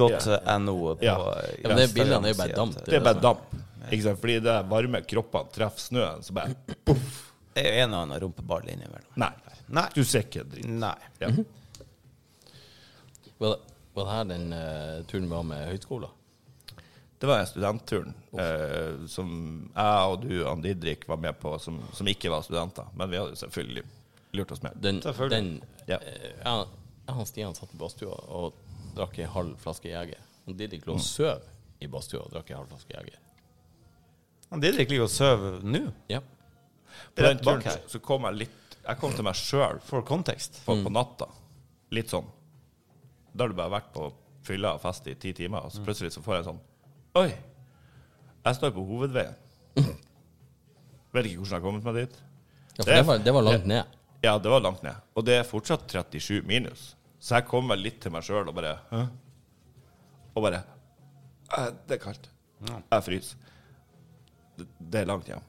på
Ja.
Ja, men de bildene er jo bare damp.
Det er bare damp. Ikke sant? Fordi det varme kroppene treffer snøen, så bare
Det er jo en og annen rumpeball innimellom.
Nei.
Nei.
Du ser ikke en dritt.
Nei.
Ja.
Var det- var det her den eh, turen vi var med høyskolen?
Det var den studentturen eh, som jeg og du, Ann Didrik, var med på, som, som ikke var studenter. Men vi hadde jo selvfølgelig lurt oss med.
Den,
Selvfølgelig.
den
Ja.
eh, jeg- Jeg og Stian satt i badstua og drakk ei halv flaske Jeger. Og Didrik
Mm.
lå og søv i badstua og drakk ei halv flaske Jeger.
Han Didrik ligger og sover nå.
Ja.
På den
Rett bak
turen
her.
så- så kom jeg litt Jeg kom til meg sjøl
For kontekst.
på, på natta. Litt sånn. Da har du bare vært på fylla og fest i ti timer,
Mm.
og så plutselig så får jeg sånn Oi! Jeg står på hovedveien. Vet ikke hvordan jeg har kommet meg dit.
ja for det var, det var langt ned.
Ja, det var langt ned. Og det er fortsatt 37 minus. Så jeg kom vel litt til meg sjøl og bare Hæ? Og bare «Eh, Det er kaldt. Jeg fryser. Det, det er langt hjem.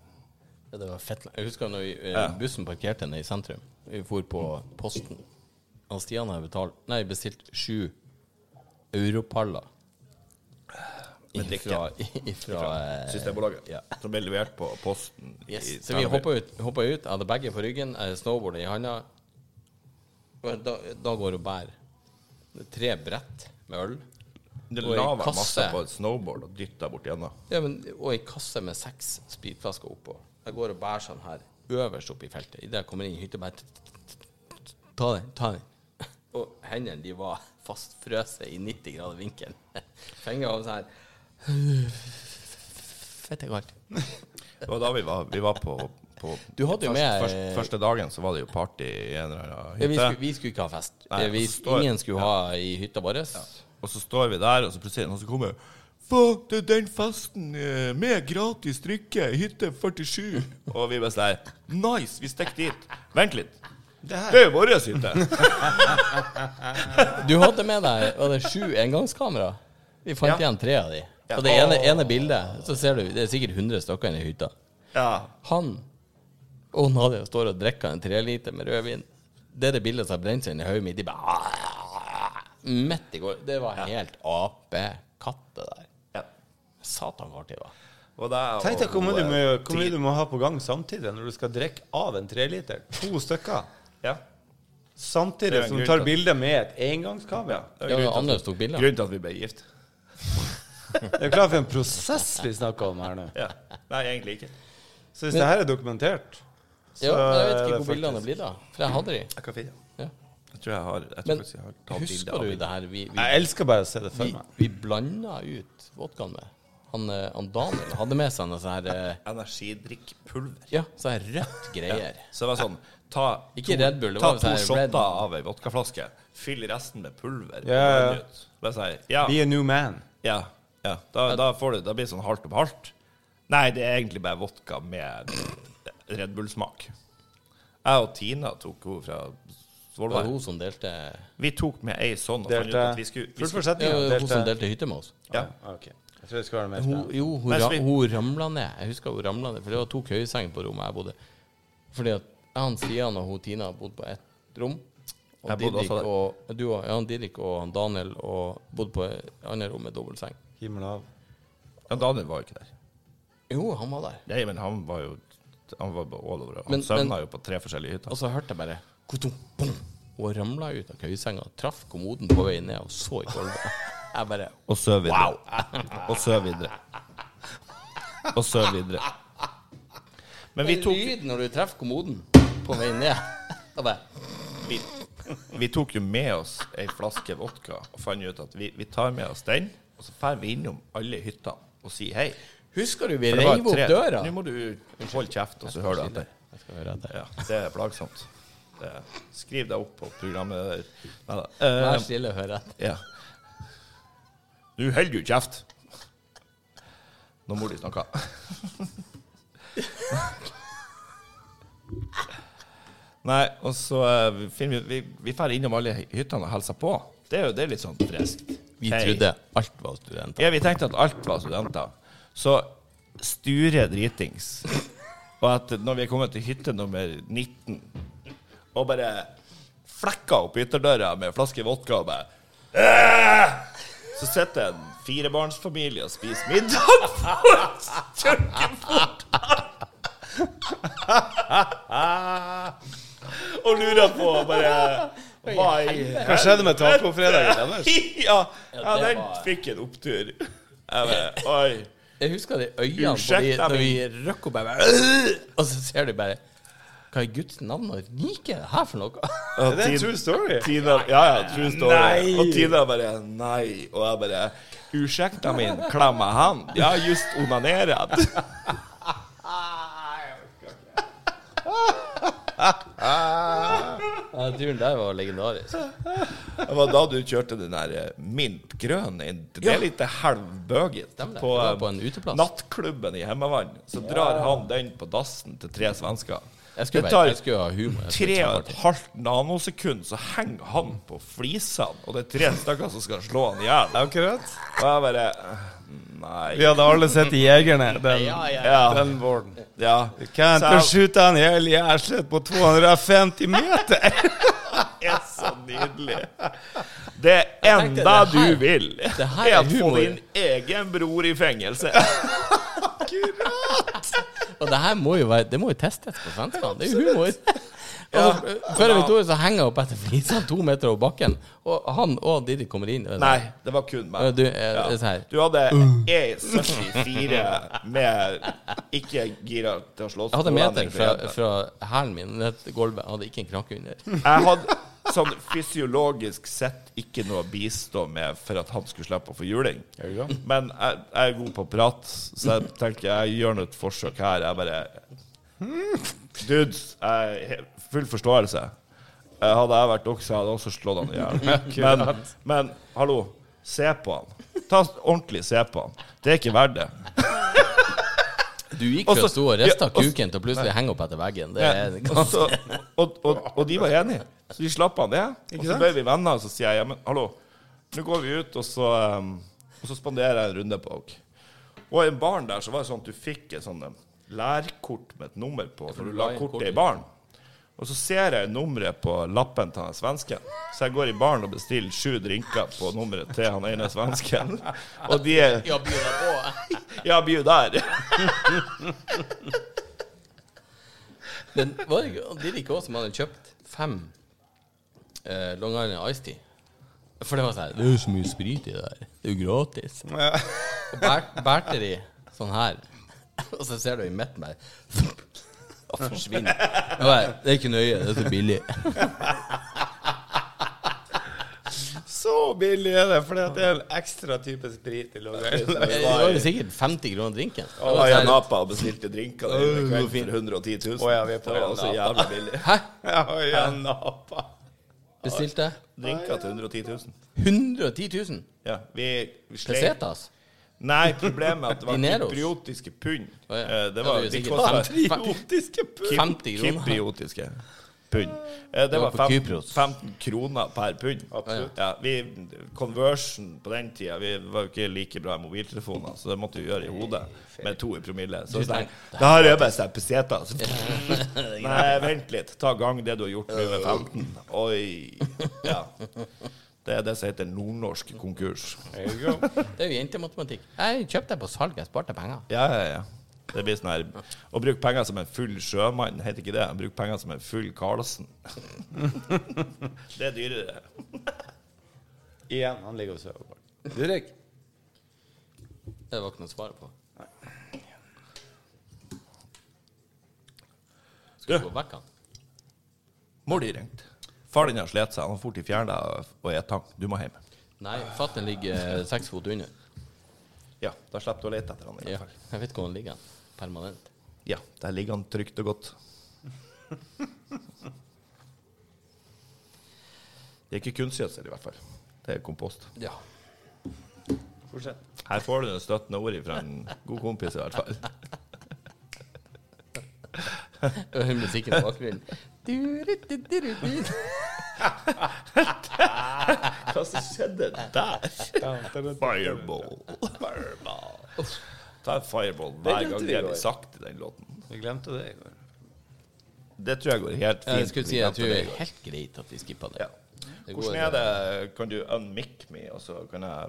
Ja, det var fett. Jeg husker når vi, eh,
Ja.
bussen parkerte ned i sentrum. Vi for på Posten. Og Stian hadde betalt, nei, bestilt sju europaller.
Med
Ifra, ifra, eh,
Systembolaget.
ja.
Som ble levert på posten. i
Yes. Så vi
Trondheim.
hoppa ut, hoppa ut, jeg hadde begge på ryggen, eh, snowboardet i handa. Og Da, da går og bærer tre brett med øl.
Det
og ei
lava masse
kasse.
på et snowboard og dytta bort gjennom.
Ja, men, og ei kasse med seks spritflasker oppå. Jeg går og bærer sånn her, øverst oppe i feltet. Idet jeg kommer inn i hytta, bare t- t- t- Ta den, ta den. Og hendene, de var fastfrøse i 90 grader vinkel. Fenga var sånn her Fette kaldt.
Det var da vi var, vi var på, på
Du hadde jo
først-
med-
først- Første dagen så var det jo party i en eller annen
Ja, Vi
hytte.
skulle, vi skulle ikke ha fest.
Nei,
Eh, vi,
og så står-
ingen skulle ha i hytta vår.
Og så står vi der, og så plutselig er det noen som kommer. Fuck, det er den festen eh, med gratis drikke, hytte 47. Og vi bare sier nice, vi stikker dit. Vent litt. Det, er jo vår hytte.
Du hadde med deg var det sju engangskamera. Vi fant
Ja.
igjen tre av de. Og det ene, ene bildet, så ser du Det er sikkert 100 stykker inne i hytta.
Ja.
Han og Nadia står og drikker en treliter med rødvin. Det er det bildet som har brent seg inn i hodet mitt. De bare Midt i går. Det var helt apekatt, det der.
ja.
Satan hvor artig det var.
Og det er-
Tenk deg hvor mye
og-
du må- hvor mye du må ha på gang samtidig når du skal drikke av en treliter. To stykker.
Ja. Det er
Samtidig
en
som
grunn til
du tar
at-
bilde med et engangskamera.
Ja, men Anders tok bilder.
Grunnen til at vi ble gift.
Er du klar for en prosess vi snakker om her nå?
Ja. Nei, egentlig ikke.
Så hvis det her er dokumentert
Jo, men jeg vet
er
ikke
det
hvor bildene
faktisk-
blir da. For jeg hadde de.
Jeg kan finne den.
Ja.
Jeg tror jeg har, jeg tror
Men
faktisk jeg har tatt bilde
husker
av
du
den.
det her vi, vi,
Jeg elsker bare å se det for
vi,
meg.
vi blanda ut vodkaen med? Han, eh, han Daniel hadde med seg noe sånn her eh,
Energidrikkpulver.
Ja, sånn her rødt greier.
Så det var sånn Ta to,
Ikke Red Bull, det
ta
var
to
sånn her
shotter
Red-
av ei vodkaflaske, fyll resten med pulver.
Ja, ja.
Vann ut. Da sier jeg ja,
Be a new man.
ja, ja. Da, da, får du, da blir det sånn halvt om halvt. Nei, det er egentlig bare vodka med Red Bull-smak. Jeg og Tina tok henne fra
Det var
Svolvær.
hun som delte
Vi tok med ei sånn og fant ut
Delte
at vi skulle, vi
Full
skulle
ja,
forsetning. ja.
Hun som
Delte
delte hytte med oss.
ja.
Ah, ok. Jeg tror det skal være mer
Hun,
spennende.
jo, hun,
Men
ra
så vi-
hun ramla ned. Jeg husker hun ramla ned, for det var to køyesenger på rommet jeg bodde. Fordi at han Stian og hun Tina bodde på ett rom. Og
Jeg bodde også
Didrik
der.
og, du og, ja, han Didrik og han Daniel og bodde på et annet rom med dobbeltseng.
Himmel og hav.
ja, Daniel var jo ikke der.
Jo, han var der.
Nei, men han var jo Han var bare all over. Han
Men-
søvna
men-
jo på tre forskjellige hytter.
Og så hørte jeg bare kutum, bum, og ramla ut av køyesenga. Traff kommoden på vei ned og så i gulvet. Jeg bare
Og søv videre. Og søv videre. Og søv videre. Men vi
Det er
tok,
lyd når du treffer kommoden på vei ned. Jeg bare,
vi, vi tok jo med oss ei flaske vodka og fant ut at vi, vi tar med oss den, og så drar vi innom alle hyttene og sier hei.
Husker du vi
For det var
reiv opp
tre-
døra?
Nå må du holde kjeft, og så hører du etter.
Jeg skal høre etter.
Ja, det er plagsomt. Det- Skriv deg opp på programmet der. Neida. Eh,
Vær stille og hør etter.
Ja. Du holder jo kjeft. Når mor di snakker. Nei, og så eh, finner vi Vi, vi drar innom alle hyttene og hilser på. Det er jo det er litt sånn friskt.
Vi
Hei.
trodde alt var studenter.
Ja, vi tenkte at alt var studenter. Så Sture dritings. Og at når vi er kommet til hytte nummer 19, og bare flekka opp ytterdøra med en flaske vodka og bare «Æ!» Så sitter en firebarnsfamilie og spiser middag på et kjøkkenfort. Og lurer på bare Hva i
Hva skjedde med tacofredagen deres?
ja, ja, den fikk en opptur. Jeg bare, Oi.
Jeg husker de øynene på de,
Unnskyld,
når
jeg
vi røkk opp jeg bare, Og så ser du bare Hva i Guds navn og rike er det her for noe?
Er det en true story?
Tina, ja, ja, true story.
Nei.
Og Tina bare nei. Og jeg bare Ursäkta min, klamma hand. Jeg har just onanerat.
Ja, turen der var legendarisk.
Det var da du kjørte den der eh, mintgrønne Det er litt halvbøget.
Stemmer det.
På,
Det var
eh,
på en uteplass.
nattklubben i Hemmevann. Så drar han den på dassen til tre svensker.
Jeg skulle,
Det
bare,
tar-
jeg skulle ha humor.
tre
Jeg skulle
og
kjempe
et
artig.
halvt nanosekund så henger han på flisene, og det er tre stykker som skal slå han i hjel.
Akkurat.
Og jeg bare Nei.
Vi hadde alle sett Jegerne, den,
Ja, ja, ja.
Ja.
den våren.
ja. Så
Kan inte
jeg-
skjuta han ihjäl i arslet på 250 meter.
Det er så nydelig. Det
tenkte, det
enda
her-
du vil,
det her
er
er
å få
humor.
din egen bror i fengelse.
Og det her må jo være Det må jo testes på svenskene. Det er jo humor. Og så, før jeg vet ordet, så henger jeg opp etter flisene to meter over bakken, og han og Didi kommer inn. og er sånn,
Nei, det var kun
«Å,
meg.
Du, eh, det er sånn her
Du hadde E74 med ikke gira til å slåss.
Jeg
på
hadde meter
hverandre for
fra,
jenter.
fra hælen min ned til gulvet. Jeg hadde ikke en kranke under.
Jeg hadde sånn fysiologisk sett ikke noe å bistå med for at han skulle slippe å få juling. Men jeg, jeg er god på prat, så jeg tenker jeg gjør nå et forsøk her. Jeg bare Dudes, jeg he- full forståelse. Eh, Hadde jeg vært dere, så hadde jeg også slått han i hjel. Men, men hallo, se på han. Ta s- ordentlig se på han. Det er ikke verdt det.
Du gikk
Også-
fra å stå og rista
ja, og-
kuken til å plutselig henge opp etter veggen. Det er
Og, så, og, og, og de var enige, så de slapp han det. Og så ble vi venner, og så sier jeg ja, men hallo, nå går vi ut, og så, um, og så spanderer jeg en runde på dere. Og i baren der så var det sånn at du fikk et sånn um, lærkort med et nummer på, for du la
la inn
kortet
kortet.
i baren. Og så ser jeg nummeret på lappen til han svensken. Så jeg går i baren og bestiller sju drinker på nummeret til han ene svensken. Og de er
Ja, byr deg på.
Ja, bjud der.
Men var det ikke Didi K som hadde kjøpt fem eh, Long Island Ice Tea? For det var sånn Det er jo så mye sprit i det der. Det er jo gratis.
Ja.
Og bær- bærte de sånn her, og så ser du i midten der Og forsvinner. Og jeg, det er ikke nøye, det er så billig.
Så billig er det, for det er en ekstra type sprit i Longyearbyen.
Det var jo sikkert 50 kroner drinken.
Jeg var i Napa og bestilte drinker der i kveld for 110 000.
Å ja, vi er på
det var også
Napa.
jævlig billig.
Hæ?
Ja, ja, Napa.
Bestilte jeg
Drinker til 110 000.
110 000
Ja, vi sleit
pesetas?
Nei, problemet er at det var
Dineros.
kypriotiske pund.
Å ja.
Eh, Det var
Ja, det er jo
de
sikkert
kostet-
sant.
Idiotiske pund.
50 kroner.
Kypriotiske pund. Eh, Det
var
var 15,
på Kypros.
15 kroner per pund.
Absolutt.
Ja, vi, conversion på den tida Vi var jo ikke like bra i mobiltelefoner, så det måtte vi gjøre i hodet. Med to i promille. Så sånn, det her er bare seg peseta. Så, nei, vent litt. Ta gang det du har gjort nå med 15. Oi. Ja. Det er det som heter nordnorsk konkurs.
Det er jo jentematematikk. Jeg kjøpte det på salg, jeg sparte penger.
Ja, ja, ja. Det blir sånn her Å bruke penger som en full sjømann, heter ikke det. Bruke penger som en full Karlsen. det er dyrere.
Igjen, han ligger og sover. Didrik?
Det var ikke noe å svare på. Skal du gå vekk han?
Mor di ringte. Far din har slitt seg. Han har fort i fjæra og er tang. Du må hjem.
Nei, fatter'n ligger eh, seks fot under.
Ja, da slipper du å lete etter han i
Ja,
hvert fall.
jeg vet hvor han ligger. Permanent.
Ja, der ligger han trygt og godt. Det er ikke kunstgjødsel, i hvert fall. Det er kompost.
Ja.
Fortsett.
Her får du det støttende ordet fra en god kompis, i hvert fall.
Hører musikken i bakgrunnen. Du-ru-du-du-ru-du.
Hva som skjedde der? Fireball. Ta en fireball hver gang det blir sagt i den låten.
Vi glemte det i går.
Det tror jeg går helt fint.
Jeg skulle si jeg tror det er helt greit at vi skippa det.
Ja. Hvordan er det Kan du unmic me, og så kan jeg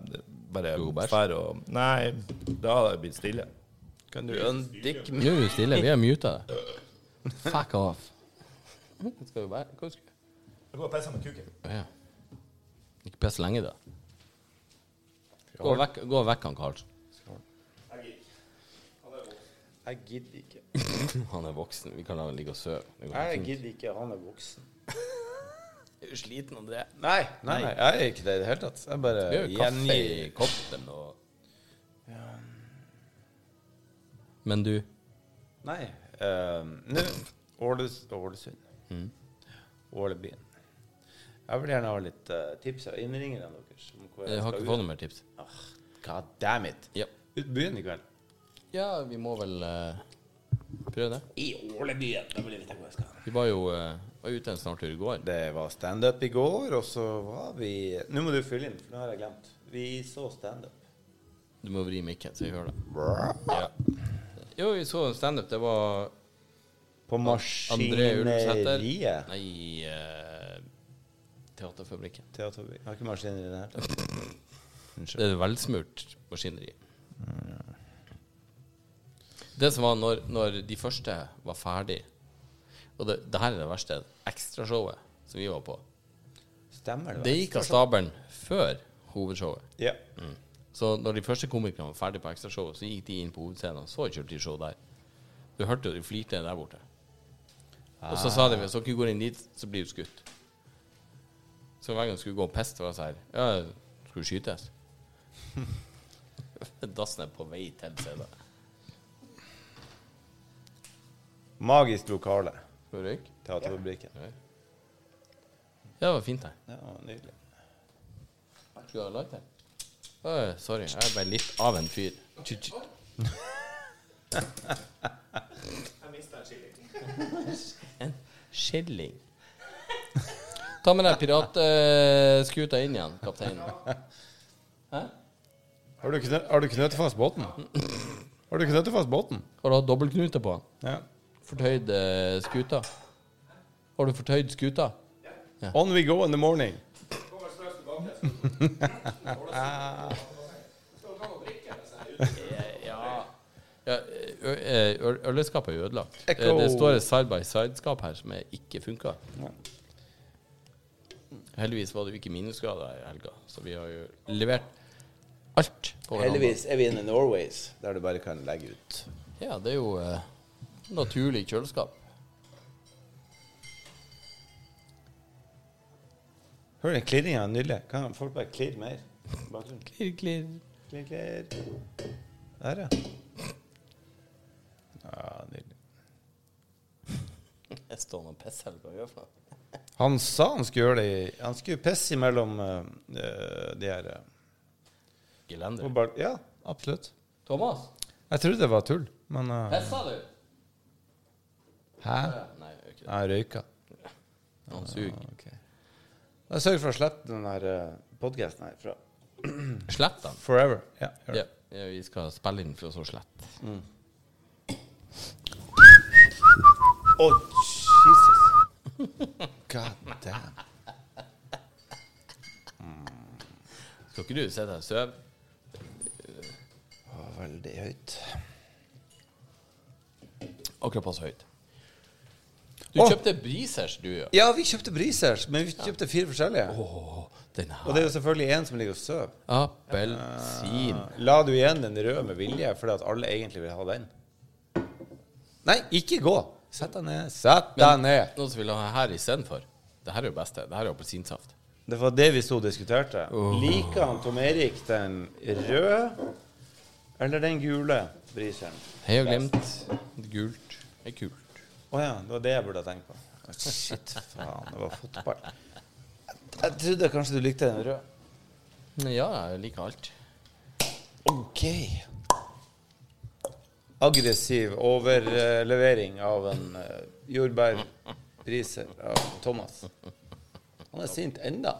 bare
Skal hun bæsje?
fære og Nei, da hadde jeg blitt stille.
Kan du undick
Nå er du stille. Vi har muta deg. Fuck off. Skal du bare Hva skal du
Jeg går og pisser med kuken.
Å, ja. Ikke piss lenge, da. Gå vekk, gå vekk han Karlsen.
Jeg gidder ikke.
Han er voksen. Vi kan la han ligge og sove. Det går
Jeg
fint.
gidder ikke, han er voksen.
Er du sliten, André?
Nei, nei, nei, jeg er ikke det i det hele tatt. Jeg bare
Vi har jo kaffe
gjengir
i koppen og Men du
Nei. eh, Nå Åles- Ålesund.
Mm.
Ålebyen. Jeg vil gjerne ha litt eh, tips av innringerne deres. Om hvor
Jeg eh, har ikke fått noe mer tips.
Ah, God damn it.
Ja.
Ut byen i kveld.
ja, vi må vel eh, prøve det.
I Ålebyen. Da vil jeg vite hvor jeg skal.
Vi var jo eh, var ute en snartur i går.
Det var standup i går, og så var vi Nå må du fylle inn, for nå har jeg glemt. Vi så standup.
Du må vri mikken, så vi hører det. Ja. Jo, vi så en standup. Det var
På
André Ulvsæter.
Maskineriet.
Nei eh, Teaterfabrikken.
Teaterby. Har ikke maskineri i det her.
Det er velsmurt maskineri. Det som var når, når de første var ferdig Og det, det her er det verste. Ekstrashowet som vi var på.
Stemmer det?
Det gikk av stabelen før hovedshowet.
Ja.
Så når de første komikerne var ferdig på ekstrashowet, så gikk de inn på hovedscenen, så kjørte de show der. Du hørte jo de flirte der borte. Og så sa de hvis dere går inn dit, så blir du skutt. Så hver gang du skulle gå og pisse, var det sånn her Ja, skulle du skytes? Dassen er på vei til scenen.
Magisk lokale.
Skal du røyke?
Teaterfabrikken.
Ja, det var fint her.
Ja, nydelig.
Skulle du ha light her? Åh, sorry, jeg er bare litt av en fyr. Tjut, tjut. En skilling. Ta med deg piratskuta inn igjen, kapteinen.
Har du, knø- har du knøttet fast båten? Har du knøttet fast båten?
Har du hatt dobbeltknute på den?
Ja.
Fortøyd eh, skuta? Har du fortøyd skuta?
On we go in the morning.
Ja, ø- ø- ø- Øleskapet er jo ødelagt. Eh,
Ekko.
Det står et side-by-side-skap her som er ikke funka. Heldigvis var det jo ikke minusgrader i helga, så vi har jo levert alt. på verandaen.
Heldigvis er vi inne i Norways, der du bare kan legge ut.
Ja, det er jo eh, naturlig kjøleskap.
Hører du klirringa? Nydelig. Kan folk bare klirre mer? i Bakgrunnen.
Klirr, klirr.
Klirr, klirr. Der, ja. Ja, nydelig.
Jeg står og pisser eller hva jeg gjør for noe.
Han sa han skulle gjøre det i- Han skulle pisse imellom eh, de her eh, på
Gelender.
bal- Ja, absolutt.
Thomas,
Jeg trodde det var tull, men eh,
pissa du?
Hæ?
Nei, jeg gjør ikke det.
Jeg røyka.
Han suger.
Ok. Jeg sørger for å slette den her podkasten her fra
Slett han.
Forever. Ja, gjør
Ja,
det.
ja, vi skal spille inn for å så slett.
Oh, Jesus. God damn.
Skal ikke du sitte her og sove?
Det var veldig høyt.
Akkurat passe høyt. Du
Åh!
kjøpte Brisers, du, ja.
Ja, vi kjøpte brisers, men vi kjøpte fire forskjellige.
Åh, den
Og det
her.
er jo selvfølgelig én som ligger og sover.
Appelsin.
La du igjen den røde med vilje, fordi at alle egentlig vil ha den? Nei, ikke gå! Sett deg ned. Sett deg ned.
Noen som vil ha her istedenfor. Det her er jo beste. Det her er jo appelsinsaft.
Det var det vi sto og diskuterte. Liker han Tom Erik den røde eller den gule briseren?
Hei og glemt. Gult er kult.
Å ja, det var det jeg burde ha tenkt på. Shit, faen. Det var fotball. Jeg trodde kanskje du likte den røde.
Ja, jeg liker alt.
OK. Aggressiv overlevering av en eh, jordbærpriser av Thomas. Han er sint enda.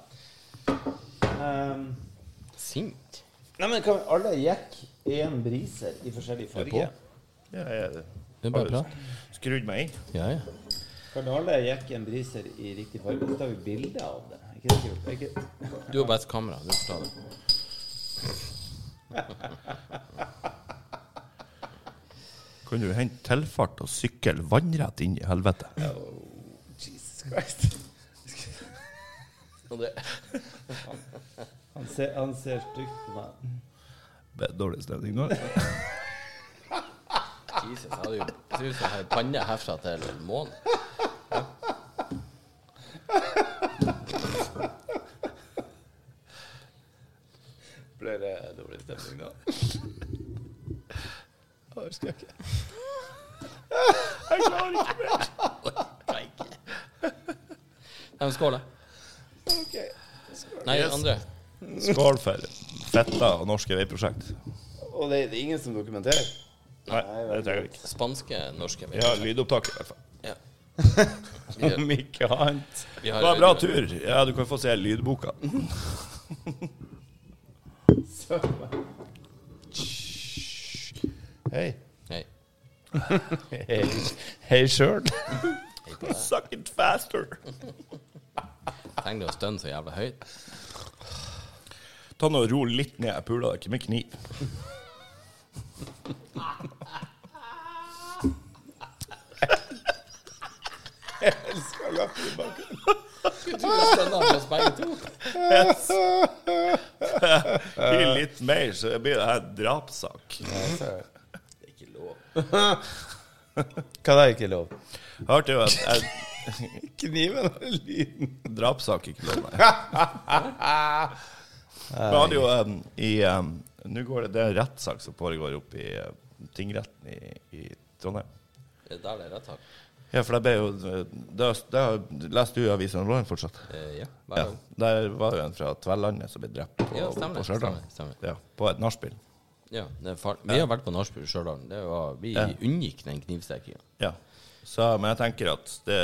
Ehm,
Sint.
nei, men kan vi alle jekke én briser i forskjellig farge?
Ja, jeg er det.
Det er bare
Har du
prat.
Skrudd meg inn.
Ja, ja.
Kan alle jekke en briser i riktig farge? Så tar vi bilde av det. Er Ikke det kult? Er ikke-
Du har best kamera. Du får ta det.
Kan du hente tilfart og sykle vannrett inn i helvete?
Jesus Christ.
Og det.
Han ser, han ser stygt på meg.
Det er dårlig stemning nå.
Jesus, jeg hadde jo det ser ut som jeg hadde panne herfra til månen.
Blir det dårlig stemning da? Orker jeg ikke.
Nei, men skål, da. Nei, andre.
Skål for fetta og norske veiprosjekt.
Og det, det er ingen som dokumenterer?
Nei, det trenger vi ikke.
Spanske, norske.
Vi har lydopptak i hvert fall.
Ja.
Om ikke annet.
Vi
Det
har
var en bra tur. Ja, du kan få se lydboka.
Hei.
Nei.
Hei, hei sjøl.
Suck it faster.
Trenger du å stønne så jævla høyt?
Ta nå og ro litt ned. Jeg puler deg ikke med kniv.
Jeg tror jeg stønner med oss begge to.
Gi
Eh.
litt mer, så blir det her drapssak.
Det er ikke lov.
Hva er ikke lov?
Hørte jo at jeg
Kniven og lyden.
Drapssak ikke lov, nei. Vi hadde jo um, i um, Nå går det, det er en rettssak som foregår oppe i eh, tingretten i, i Trondheim.
Det er der det er rett tak.
Ja, for det ble jo eh, Det, det leste du i avisen Online fortsatt?
Eh, ja, hver
Ja.
gang.
Der var jo en fra Tverlandet som ble drept på,
Ja, stemmer,
på Stjørdal.
stemmer, stemmer.
Ja, på et nachspiel.
Ja, det er far. Vi har vært på nachspiel i Stjørdal. Det var- Vi
Ja.
unngikk den knivstikkinga.
Ja. Så, men jeg tenker at det,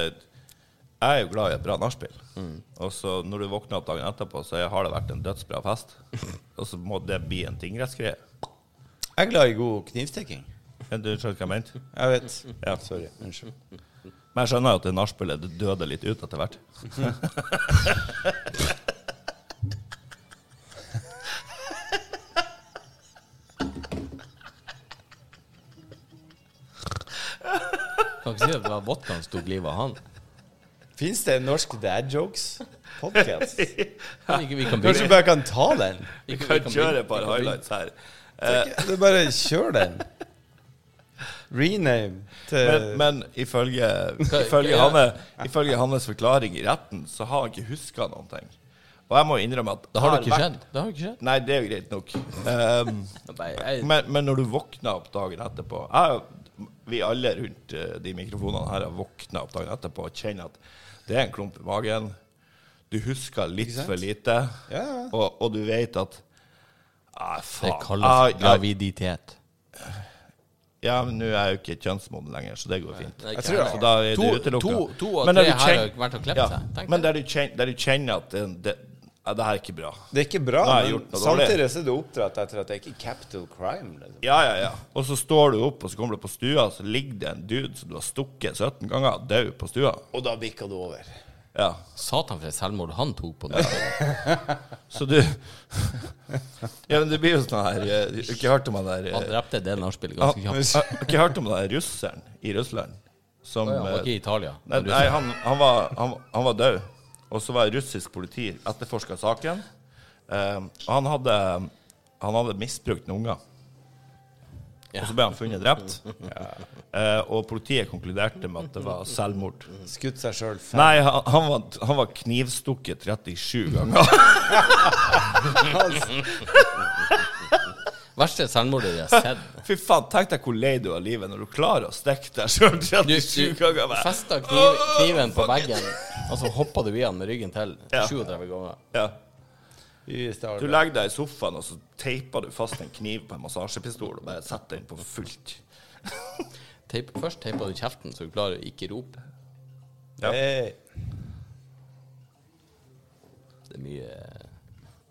jeg er jo glad i et bra nachspiel.
Mm.
Og så når du våkner opp dagen etterpå, så har det vært en dødsbra fest. og så må det bli en tingrettsgreie.
Jeg er glad i god knivstikking.
Ja, Du skjønner hva jeg mente?
Jeg vet.
Ja, sorry. Unnskyld. Men jeg skjønner jo at det nachspielet det døde litt ut etter hvert.
Kan ikke si at det var vodkaen som tok livet av han.
Fins det norsk dad jokes? Podcast.
Kan ikke vi kan
Kanskje
bygge
bare kan ta den?
Vi
ikke-
kan
vi kan
kjøre
bygge-
et par
vi kan bygge-
highlights her.
Du bare kjør den. Rename til
Men, men ifølge,
Eh, Hva-
ifølge,
ja.
Hanne, ifølge hans forklaring i retten, så har han ikke huska noen ting. Og jeg må innrømme at
Det har
jeg
jo ikke
vært-
skjedd. Det har jo ikke skjedd.
Nei, det er jo greit nok. Um,
Nei, jeg,
men, men når du våkner opp dagen etterpå jeg, Vi alle rundt eh, de mikrofonene her har våkna opp dagen etterpå og kjenner at det er en klump i magen. Du husker litt for lite,
Ja, ja.
og, og du vet at ah, faen.
det
ah,
kalles
ja,
graviditet.
ja, men nå er jeg jo ikke kjønnsmoden lenger, så det går fint.
Nei,
Jeg tror
Så da er
To-
det utelukka.
to- to av
Men der
tre
du
her
kjen-
har vært og klept seg. Tenk
Men
det.
der du kjenner, der du kjenner at det, det, ja, det her er ikke bra.
Det er ikke bra,
Nei,
men
gjort noe dårlig.
samtidig så er du oppdratt etter at det er ikke capital crime. Liksom.
Ja, ja, ja. Og så står du opp, og så kommer du på stua, og så ligger det en dude som du har stukket 17 ganger, død på stua.
Og da bikka du over.
Ja.
Satan for et selvmord han tok på den.
Så du Ja, men det blir jo sånn her eh, Du har ikke hørt om han der eh,
Han drepte det nachspielet
han-
ganske
han-
kjapt.
Har ikke hørt om han der russeren i Russland som
Han var ikke
eh,
i Italia.
Nei, nei han, han, var, han, han var død. Og så var russisk politi etterforska saken. Eh, og han hadde, han hadde misbrukt noen unger. Og så ble han funnet drept. Eh, og politiet konkluderte med at det var selvmord.
Skutt seg sjøl.
Nei, han, han, var, han var knivstukket 37 ganger.
Verste selvmordet jeg har sett.
Fy faen, tenk deg hvor lei du er av livet når du klarer å stikke deg sjøl 37 ganger. bare.
festa kniv, kniven på veggen, og så hoppa du i den med ryggen til
Ja.
37 ganger.
Ja. Du
Nei.
legger deg i sofaen, og så teiper du fast en kniv på en massasjepistol og bare setter den på fullt.
Teip, først teipa du kjeften, så du klarer å ikke rope. Det er mye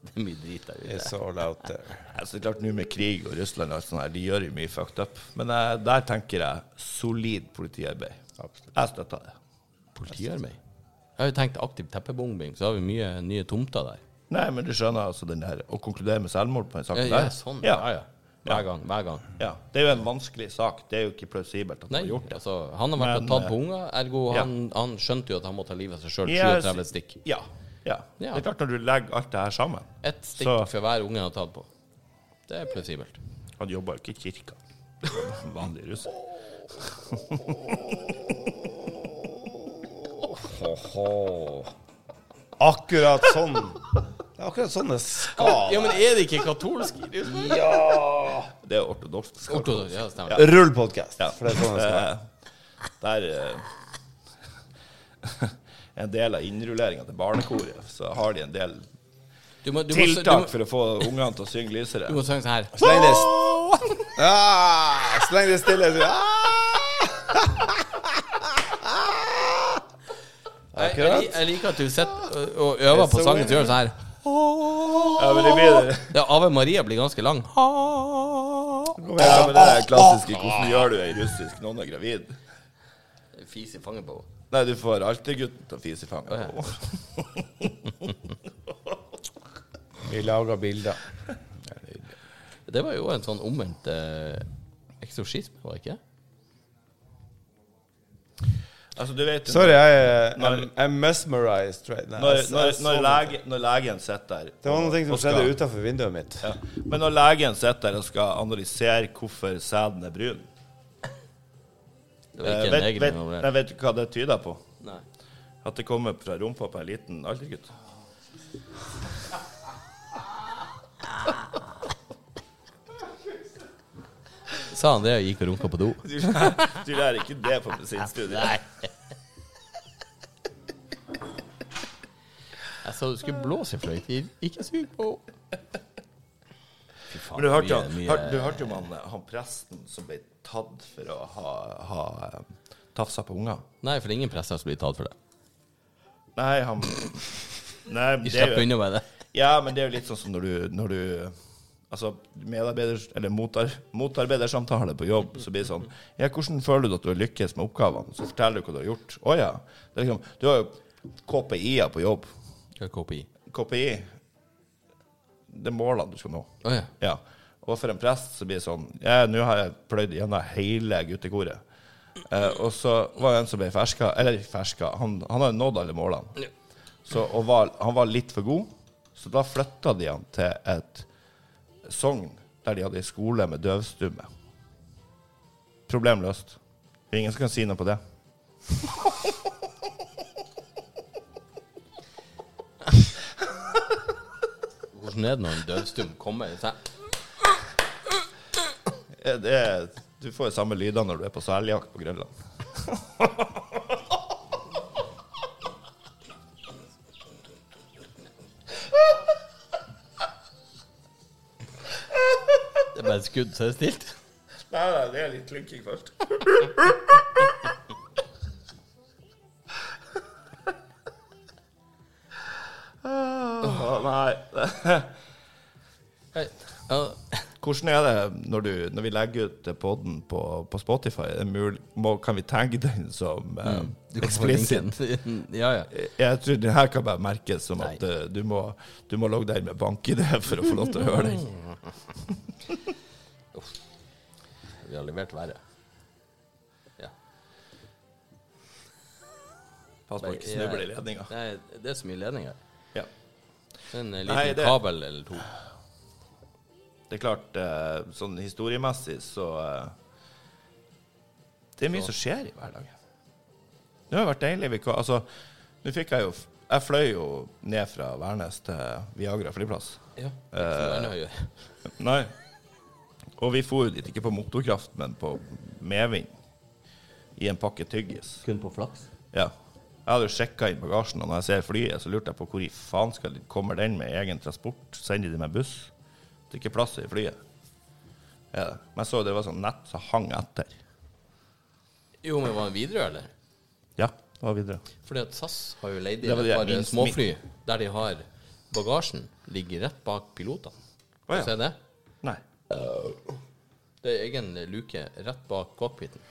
Det er mye drit der ute.
It's all out there.
Ja, så det er klart nå med krig og Russland og alt sånt her, de gjør jo mye fucked up. Men eh, der tenker jeg solid politiarbeid. Jeg støtter det.
Politiarbeid. Jeg har jo tenkt aktiv teppebombing, så har vi mye nye tomter der.
Nei, men du skjønner altså den her Å konkludere med selvmord på en sak
Ja, ja, sånn. Ja, ja. Hver gang. Hver gang.
Ja, Det er jo en vanskelig sak. Det er jo ikke plausibelt at
Nei,
man har gjort det.
altså, han har vært
Men,
og tatt
eh,
på unger, ergo
ja.
han, han skjønte jo at han måtte ta livet av seg sjøl.
Ja,
37 stikk.
Ja, ja. Det
Ja.
er klart, når du legger alt det her sammen
Ett stikk
Så-
for hver unge han har tatt på. Det er plausibelt.
Han jobba jo ikke i kirka. Som Vanlig russer.
Akkurat sånn. Det er akkurat sånn det skal.
Ja, men er det ikke katolsk?
Ja!
Det er ortodoks.
Ortodoks, ja, stemmer.
Rull podcast,
Ja.
for det er sånn det skal være.
Der eh, En del av innrulleringa til barnekoret, så har de en del
Du må, du må, du
tiltak
må,
for å få ungene til å synge lysere.
du må synge sånn her.
Så lenge det er st- ah, Så lenge det er stille, så ah!
Jeg, jeg,
Akkurat.
lik- jeg liker at du sitter og- og øver på
It's a
sangen
way.
til sånn her.
Ja, men det blir det.
Ja, Ave Maria blir ganske lang.
Ja, men det er klassiske 'Hvordan gjør du ei russisk noen er gravid'?
Fis i fanget på henne.
Nei, du får alltid gutten til å fise i fanget.
Å,
Vi lager bilder.
Det var jo en sånn omvendt eh, eksorsisme, var det ikke?
Altså, du vet jo
Sorry, jeg er I'm,
Når-
I'm mesmerized right now.
Når,
Jeg-
når,
jeg så
når,
noe.
lege, når legen sitter der
Det var
og-
noe som
og
skjedde
skal-
utenfor vinduet mitt.
Ja. Men når legen sitter der og skal analysere hvorfor sæden er brun
Det var
eh,
ikke en
vet,
egen
vet,
involvering.
nei, vet du hva det tyder på?
Nei.
At det kommer fra rumpa på en liten aldergutt.
Sa han det og gikk og runka på do?
Du du lærer ikke det på medisinstudiet.
Jeg sa du skulle blåse i fløyte. Ikke sug på henne. Fy faen,
Men du hørte jo,
mye- mye-
hør, du hørte jo om han, han presten som ble tatt for å ha, ha eh, tafsa på unger.
Nei, for det er ingen prester som blir tatt for det.
Nei, han Nei,
De
det er
slipper
jo,
unna med det.
ja, men det er jo litt sånn som når du, når du Altså, medarbeider... Eller motar, motarbeidersamtale på jobb, så blir det sånn Ja, hvordan føler du at du har lykkes med oppgavene? Så forteller du hva du har gjort. Å ja. Det er liksom, du har jo KPI-er på jobb.
Hva er KPI?
KPI Det er målene du skal nå.
Å ja.
Ja. Og for en prest så blir det sånn ja, Nå har jeg pløyd gjennom hele guttekoret. Eh, og så var det en som ble ferska Eller ferska, han, han har nådd alle målene. Så, og var, han var litt for god, så da flytta de han til et sogn der de hadde ei skole med døvstumme. Problem løst. Det er Ingen som kan si noe på det.
Hvordan er det når en døvstum kommer? Så jeg-
Eh, Det er, du får jo samme lyder når du er på seljakt på Grønland.
Det er bare et skudd, så er det stilt.
Nei, nei, det er litt klynking først. nei.
Hei. Ja,
Hvordan er det når, du, når vi legger ut poden på, på Spotify? Er det mul- må, kan vi tagge den som eh,
Mm, du kan få
explicit?
linken. Ja, ja.
Jeg tror det her kan bare merkes som
Nei.
at eh, du må, du må logge deg inn med bank-ID for å få lov til å høre den.
Vi har levert verre. Ja.
Pass på å ikke
Jeg-
snuble i ledninga.
Nei, det er så mye ledning her.
Ja.
En eh, liten
Nei, det-
kabel eller to.
Det er klart, eh, sånn historiemessig så eh, Det er mye som skjer i hverdagen. Det har vært deilig. Vi, kan- altså, nå fikk jeg jo f- Jeg fløy jo ned fra Værnes til Viagra flyplass.
Ja. Uh,
Nei. Og vi for jo dit ikke på motorkraft, men på medvind. I en pakke tyggis.
Kun på flaks.
Ja. Jeg hadde jo sjekka inn bagasjen, og når jeg ser flyet, så lurte jeg på hvor i faen skal de, kommer den med egen transport? Sender de med buss? Det er ikke plass i flyet. Ja. Men jeg så det var sånn nett som hang etter.
Jo, men var det Widerøe, eller?
Ja, det var videre.
Fordi at SAS har jo leid
Det
inn
var
et
det jeg
par eh,
minst-
småfly der de har bagasjen ligger rett bak pilotene.
Å, ja.
Se det.
Nei.
Det er egen luke rett bak cockpiten.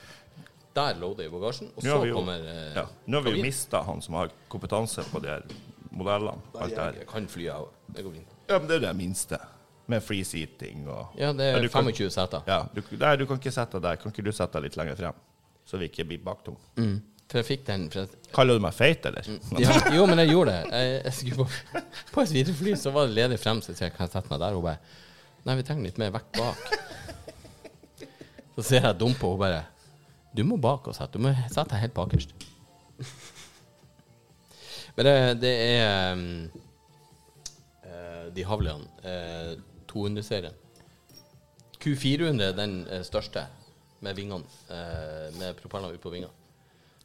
Der loader de bagasjen, og
Nå
så
har vi jo,
kommer eh,
ja. Nå har vi jo
kabinen.
mista han som har kompetanse på de her modellene. Alt det her.
Jeg kan fly, jeg òg. Det går fint.
Ja, men det er jo det minste. Med free seating og
Ja, det er
du kan-
25 seter.
Ja, du, nei, du kan ikke sette deg der. Kan ikke du sette deg litt lenger frem? Så vi ikke blir baktung.
Mm. For jeg fikk den for jeg-
Kaller du meg feit, eller?
ja, Jo, men jeg gjorde det. Jeg, jeg skulle på, på et Widerøe-fly, så var det ledig frem, så jeg sier, kan jeg sette meg der? Hun bare Nei, vi trenger litt mer vekt bak. Så ser jeg dumpe, og hun bare Du må bak og sette. Du må sette deg helt bakerst. Men det, det er um, eh, De Havlian eh, 200-serien. Q400 den eh, største, med vingene. eh, med propellene ut på vingene.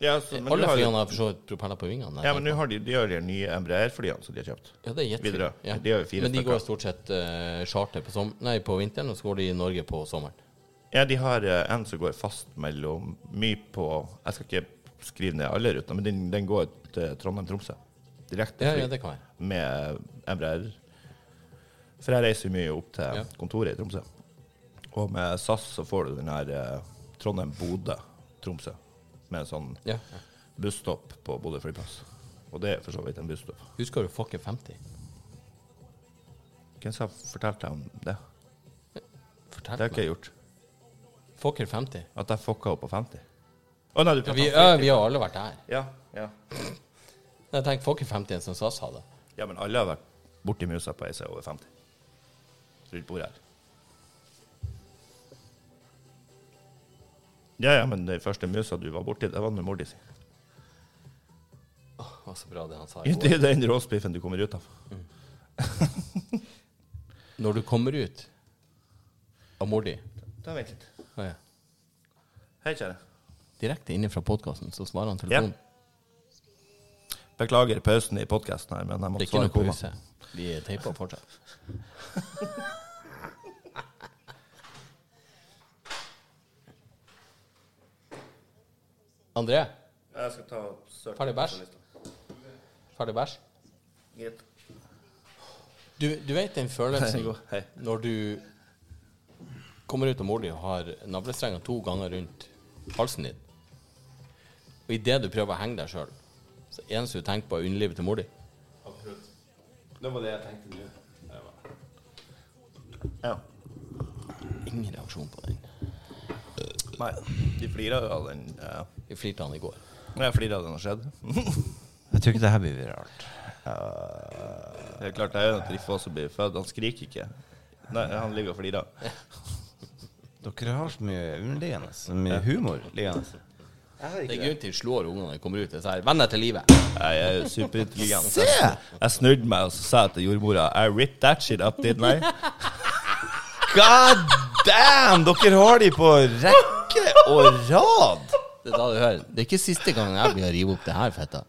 Ja, så, men du
Alle
har jo-
flyene har for så vidt propeller på vingene.
Ja, men nå har de, de, har de nye Embraer-flyene som de har kjøpt.
Ja, det er jetfly.
Widerøe.
Ja.
De har jo fire
Men de
stykker.
går stort sett eh, charter på, som nei, på vinteren, og så går de i Norge på sommeren.
Ja, de har eh, en som går fast mellom mye på Jeg skal ikke skrive ned alle rutene, men den, den går til Trondheim-Tromsø. Direkte
Ja,
fly
ja, det kan være.
med Embraer. For jeg reiser jo mye opp til
Ja.
kontoret i Tromsø. Og med SAS så får du den her eh, Trondheim-Bodø-Tromsø med en sånn
Ja.
busstopp på Bodø flyplass. Og det er for så vidt en busstopp.
Husker du fucking 50?
Hvem som fortalte deg om det?
Fortell
Det har ikke
meg.
jeg gjort.
Fucker 50.
At jeg fucka opp på 50? Å nei, du
Ja,
prater
vi,
om
ja,
50.
vi har alle vært der.
Ja, ja.
Jeg tenker fucker 50 som SAS hadde.
ja, men alle har vært borti musa på ei som er over 50. Rundt bordet her. Ja, ja, men den første musa du var borti, det var med mor di si.
Det var så bra det han sa i
Det
går.
er den råspiffen du kommer ut av.
Når du kommer ut av mor di
Da vent litt.
ja, ja.
Hei, kjære.
direkte inne fra podkasten, så svarer han
Ja.
telefonen.
Beklager pausen i podkasten her, men jeg
Det er
måtte
ikke
svare
noe
kona.
pause. Vi teiper fortsatt. André?
Jeg skal ta og søke
Ferdig bæsj? Ferdig bæsj?
Greit.
Du, du vet den følelsen
Hei, god. Hei.
når du kommer ut av mor di og har navlestrenga to ganger rundt halsen din, og idet du prøver å henge deg sjøl, så eneste du tenker på, er underlivet til mor di.
Absolutt. Det var det jeg tenkte nå. Det var- Ja.
Ingen reaksjon på den.
Nei, de flirer jo av den. eh,
Vi flirte han i går.
Når jeg flirer av den har skjedd. jeg tror ikke det her blir viralt. Det er klart det er jo en av de få som blir født. Han skriker ikke. Nei, han ligger og flirer.
Dere har så mye underliggende. Så mye humor liggende.
Jeg har ikke
Det er
det.
grunnen til de slår ungene når de kommer ut. Det er sånn her, Venner til livet.
Nei, Jeg er jo superintelligent. Jeg snu- Jeg snudde meg og så sa jeg til jordmora I ripped that shit up, didn't I?
God damn! Dere har de på rekke og rad.
Det er da du hører. Det er ikke siste gangen jeg blir å rive opp det her fetta.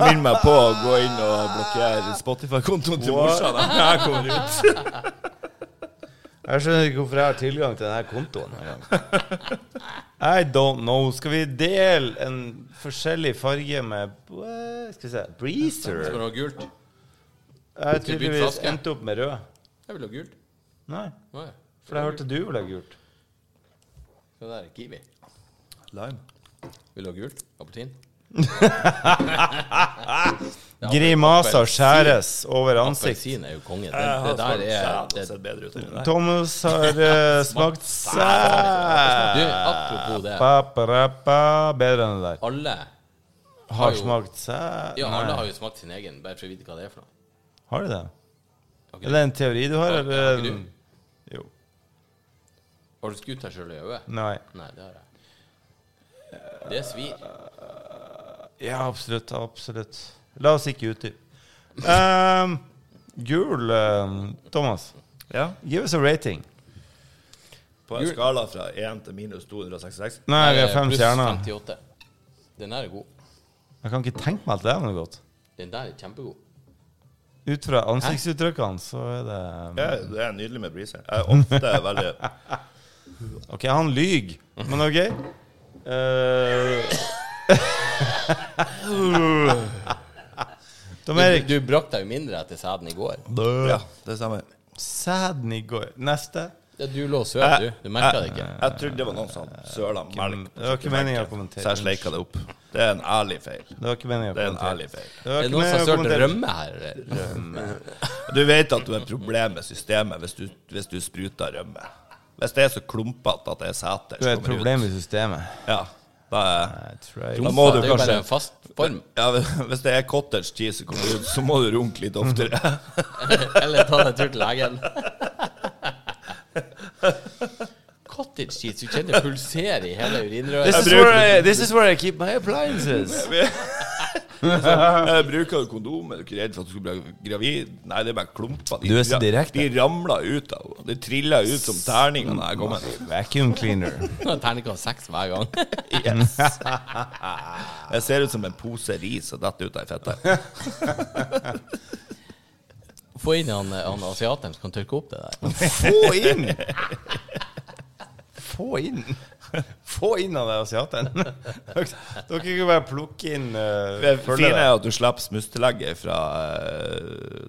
Minn meg på å gå inn og blokkere Spotify-kontoen til morsan. når Jeg kommer ut.
Jeg skjønner ikke hvorfor jeg har tilgang til denne kontoen. I don't know. Skal vi dele en forskjellig farge med eh, Skal vi se Breezer?
Skal du ha gult?
Jeg
Skal vi
har
bytte
tydeligvis
flaske?
endte opp med rød.
Jeg vil ha gult.
Nei,
Nei.
for jeg hørte du ville ha gult.
Det der er kiwi.
Lime.
Vil du ha gult? Appelsin?
Grimaser skjæres over ansikt.
Appelsin er jo konge. Det,
Jeg
det
har
der
smakt sæd og
er det,
altså.
sett bedre ut enn det der.
Thomas har eh, smakt
Du,
sæd.
apropos det.
Pa-pa-ra-pa. Bedre enn det der.
Alle
Har
jo-
smakt sæd
Ja, alle har
Nei.
jo smakt sin egen, bare for å vite hva det er for noe.
Har du det?
Har ikke
Er det en teori du har,
Har- har
eller?
ikke du?
Jo.
Har du skutt deg sjøl i øyet?
Nei.
Nei, det har jeg. Det svir.
Ja, absolutt. Absolutt. La oss ikke utdype. Ehm, gul, ehm, Thomas.
Ja.
Give us a rating.
På en skala fra 1 til minus 266.
Nei, vi har
Eh,
fem stjerner.
Pluss 58. Den der er god.
Jeg kan ikke tenke meg at det er noe godt.
Den der er kjempegod.
Ut fra ansiktsuttrykkene så er det
Ja, det er nydelig med breezer. Jeg er ofte veldig
ehm, OK, han lyver, men OK. Eh, Tom
Du,
Erik.
du brakk deg jo mindre etter sæden i går.
Ja, det stemmer.
Sæden i går. Neste.
Ja, du lå og sov, du. Du merka det ikke.
Jeg trodde det var noen som søla melk.
Mm. Det var ikke meningen å kommentere.
Så jeg sleika det opp. Det er en ærlig feil.
Det var ikke meningen å
Det er en
kommentere.
ærlig feil.
Det
Er
var
det
ikke
noen som
meningen
har
å
sølt
kommentere.
rømme her? eller?
Du vet at du har et problem med systemet hvis du, hvis du spruter rømme. Hvis det er så klumpete at det er seter
Du er
som
et
kommer
problem i
ut.
systemet.
Ja, da er
Jeg tror jeg-
Da må du
det er jo
kanskje-
bare en fast form.
ja, Hvis det er cottage cheese som kommer ut, så må du runke litt oftere.
Eller ta deg en tur til legen. Cottage cheese. Du kjenner det pulsere i hele urinrøret.
This is,
bruker-
where I, this is where I keep my appliances.
Eh, Bruker du kondom? Er du ikke redd for at du skal bli gravid? Nei, det er bare klumper. De,
Du er så
ra-
direkte.
de ramler ut av henne. De triller ut som terninger når jeg kommer.
Vacuum cleaner.
Terningkast seks hver gang.
Yes. Jeg ser ut som en pose ris og detter ut av ei fette.
Få inn han, han asiateren som kan tørke opp det der.
Få inn! Få inn Få inn av deg asiateren. Dere dere kan bare plukke inn
Det
uh,
fine er at du slipper smustelegget fra eh,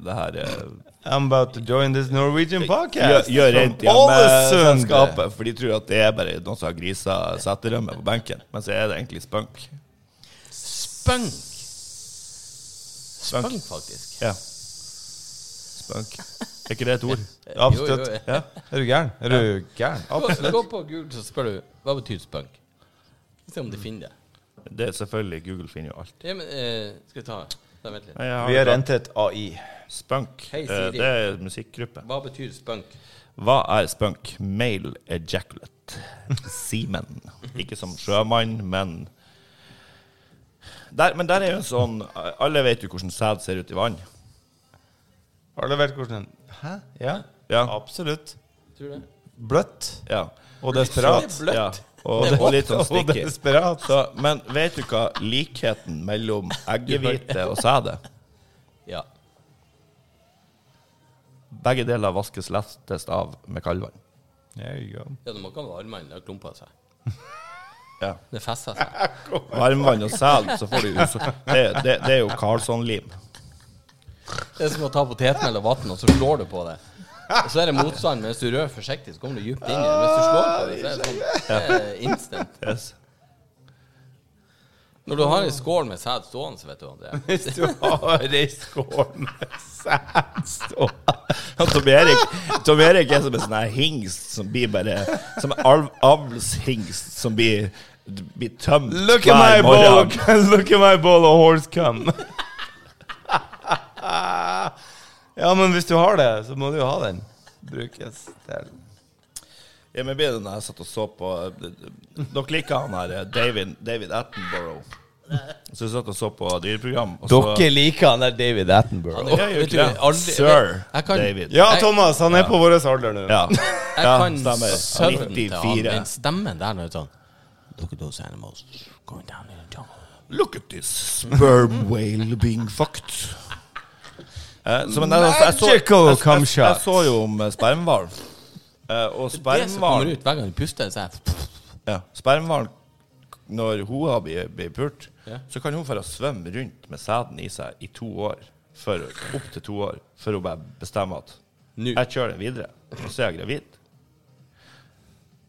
det her eh,
I'm about to join this Norwegian
Gjør,
podcast.
gjør rent eh, i
From Ålesund.
hjemmeselskapet, for de tror at det er bare noen som har grisa seterømme på benken. Men så er det egentlig spunk.
Spunk! Spunk, faktisk.
Ja. Spunk. Er ikke det et ord?
Jo,
Absolutt.
jo,
Ja.
Er du gæren? Er du gæren?
Gå, gå på Google, så spør du hva betyr spunk. Se om de finner det.
Det er selvfølgelig Google finner jo alt.
Ja, men, eh, skal vi ta da, Vent litt.
Nei, jeg
Vi har
klart
entret AI.
Spunk.
Hei,
eh,
Siri.
det er musikkgruppe.
Hva betyr spunk?
Hva er spunk? Male ejaculate. Seaman. Ikke som sjømann, men der, Men der er jo en sånn Alle vet jo hvordan sæd ser ut i vann.
Har du vært hvordan Hæ? Ja?
Ja.
Absolutt.
Tror du det?
Bløtt
Ja.
og desperat.
Det er bløtt.
ja. Og, og litt sånn
Og
sticky.
desperat.
Så, men vet du hva likheten mellom eggehvite og sæde?
Ja.
Begge deler vaskes lettest av med kaldvann.
There you go.
ja når man kan varme den, det klumper seg.
Ja.
Det fester seg.
Varmvann og sæd, så får du jo så- det, det, det er jo Carlsson-lim.
Det er som å ta potetmel og vann, og så slår du på det. Og så er det motstand. men Hvis du rører forsiktig, så kommer du dypt inn i det. Hvis du slår på det, så er det sånn eh, instant.
Yes.
Når du har en skål med sæd stående, så vet du, André
Hvis du har ei skål med sæd stående
Ja, Tom Erik, Tom Erik er som en sånn her hingst som blir bare Som en alv, avlshingst som blir, blir tømt
Look at my ball, look at my ball of horse cum.
Ja, men hvis du har det, så må du jo ha den. Brukes til
Ja, men blir det når jeg satt og så på Dere liker han her eh, David, David Attenborough. Så jeg satt og så på dyreprogram. Og så,
Dere liker han der David Attenborough.
Det gjør jo
Vet du,
ikke det.
aldri-
Sir
Jeg kan-
David.
Ja,
Jeg-
Thomas, han er på vår alder nå.
Ja.
Jeg
Ja,
kan
stemmer.
søvnen til han.
94.
Den stemmen der når det er sånn Look at those animals going down in the jungle.
Look at this sperm whale being fucked. Eh, så, men jeg, altså, jeg, så, jeg,
Magical
jeg,
cum
jeg, jeg
shot.
så jo om eh, spermhval. Eh, og
Det som kommer
spermhval
ut hver gang de puster, så er sånn,
ja,
det
Spermhval, når hoa blir, blir pult,
Ja.
så kan hun bare svømme rundt med sæden i seg i to år. For, opp til to år, før hun bare bestemmer at
Nå.
Jeg kjører den videre, og så er jeg gravid.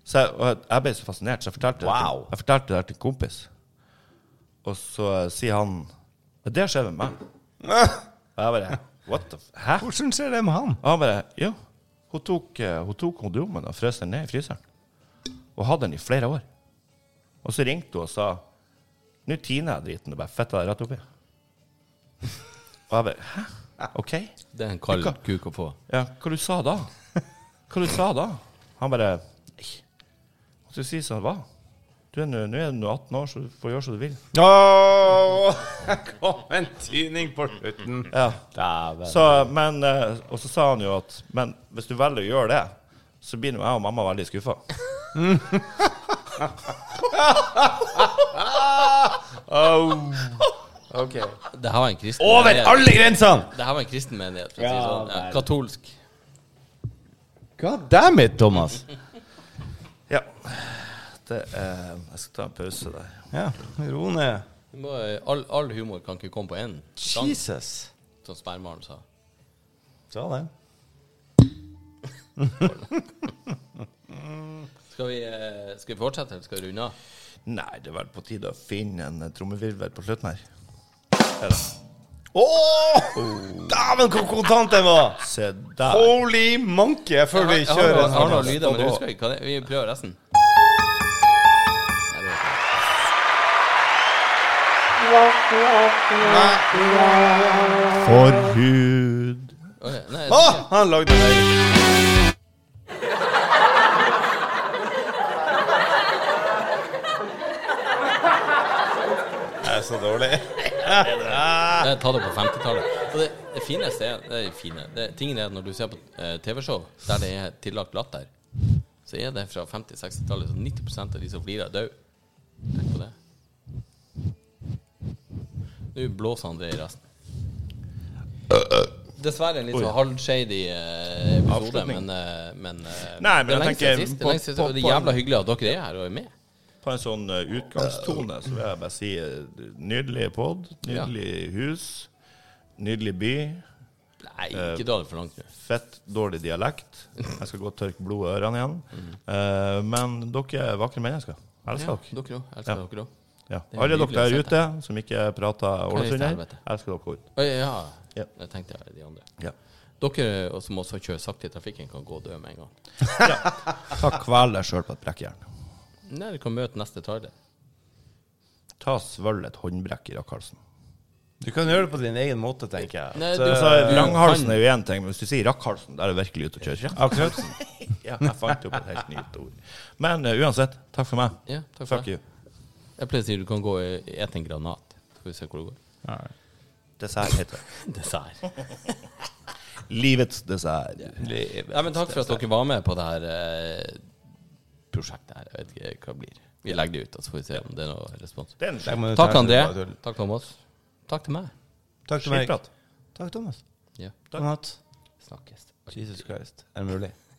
Så jeg, og jeg- jeg ble så fascinert, så jeg fortalte, det,
Wow.
til, jeg fortalte det her til en kompis. Og så eh, sier han "Ja, Det skjer med meg. Og jeg bare What the f... Hæ?
Hvordan ser det med han?
Og han bare Jo, hun tok, eh, hun tok kondomen og frøs den ned i fryseren. Og hadde den i flere år. Og så ringte hun og sa Nå tiner jeg driten og bare fetta deg rett oppi. Og jeg bare Hæ? OK?
Det er en kald
Hva-
kuk å få.
Ja, hva du sa da? Hva du sa da? Han bare Nei. Hva skal du si som det var? Du er nå nå er du nå 18 år, så du får gjøre som du vil.
Ååå! Kom en tyning på slutten.
Ja.
Dæven.
Så, men, eh, og så sa han jo at Men hvis du velger å gjøre det, så blir nå jeg og mamma veldig skuffa.
OK.
Det her var en kristen
Over
menighet.
alle grensene!
Det her var en kristen menighet. For å si det sånn. ja, katolsk.
God damn it, Thomas.
Ja. Det, eh, jeg skal ta en pause der.
Ja, ro ned.
Du må, eh, All, all humor kan ikke komme på én
Sånn.
gang,
Jesus.
som spermaren sa.
Sa den.
Skal vi, eh, skal vi fortsette, eller skal vi runde av?
Nei, det er vel på tide å finne en eh, trommevirvel på slutten her. Ja da.
Ååå! Dæven, hvor kontant den var!
Se der.
Holy monkey! Jeg føler vi
Jeg har- jeg
kjører
har
en
noen- har noen
annen
lyder, men jeg
stopp.
husker ikke hva det er. Vi prøver resten. Nei, det var ikke det.
Forhud.
Åh, ja. Nei,
Å, han lagde det. Jeg er så dårlig.
Jeg tar det på 50-tallet. Og Det, det fineste er det er fine. Det, Tingen er at når du ser på eh, TV-show der det er tillagt latter, så er det fra 50-60-tallet, så 90 av de som flirer, er døde. Tenk på det. Nå blåser han det i resten. Dessverre en litt sånn halvshady eh, episode,
Avslutning.
men, eh, men, eh,
Nei, men
det er
jeg
lenge
tenker
siden sist. Det
på-
er lenge siden,
på-
og det
på
er
en-
jævla hyggelig at dere er her og er med.
På en sånn eh, utgangstone så vil jeg bare si eh, nydelig pod, nydelig hus, nydelig by,
Nei,
Eh,
ikke dra det for langt. nå.
fett dårlig dialekt. Jeg skal gå og tørke blod i ørene igjen. Eh, men dere er vakre mennesker.
Ja,
Elsker dere.
dere òg. Elsker
Ja.
dere òg.
Ja.
Det er
Alle
nydelig
dere der
å se
ute som ikke prater
Hva er det
Ålesund her,
helvete?
elsker dere ut.
Å, Ja,
Ja.
det tenkte jeg de andre.
Ja.
Dere og som også kjører sakte i trafikken, kan gå og dø med en gang.
Ta kvel deg sjøl på et brekkjern.
Nei, dere kan møte neste trailer.
Ta svølg et håndbrekk i Rakkhalsen.
Du kan gjøre det på din egen måte, tenker jeg.
Nei,
Så-
du-
Altså, Langhalsen er jo én ting, men hvis du sier Rakkhalsen, da er det virkelig ute å kjøre.
Akkurat.
Ja, jeg fant opp et helt nytt ord. Men eh, uansett, takk for meg.
Ja, takk for
Fuck
det.
you.
Jeg pleier å si du kan gå og ete en granat. Skal vi se hvor det går.
Dessert heter det.
Dessert.
Livets dessert.
Nei, men takk for at dere var med på det her eh, prosjektet her. Jeg vet ikke hva det blir. Vi legger det ut, og så får vi se om det er noe respons.
Det er en
Jeg må jo
Takk,
ta-
André. Takk, Thomas. Takk til meg.
Takk til meg.
skitprat.
Takk, Thomas.
Ja,
God natt.
snakkes.
Jesus Christ. Er det mulig?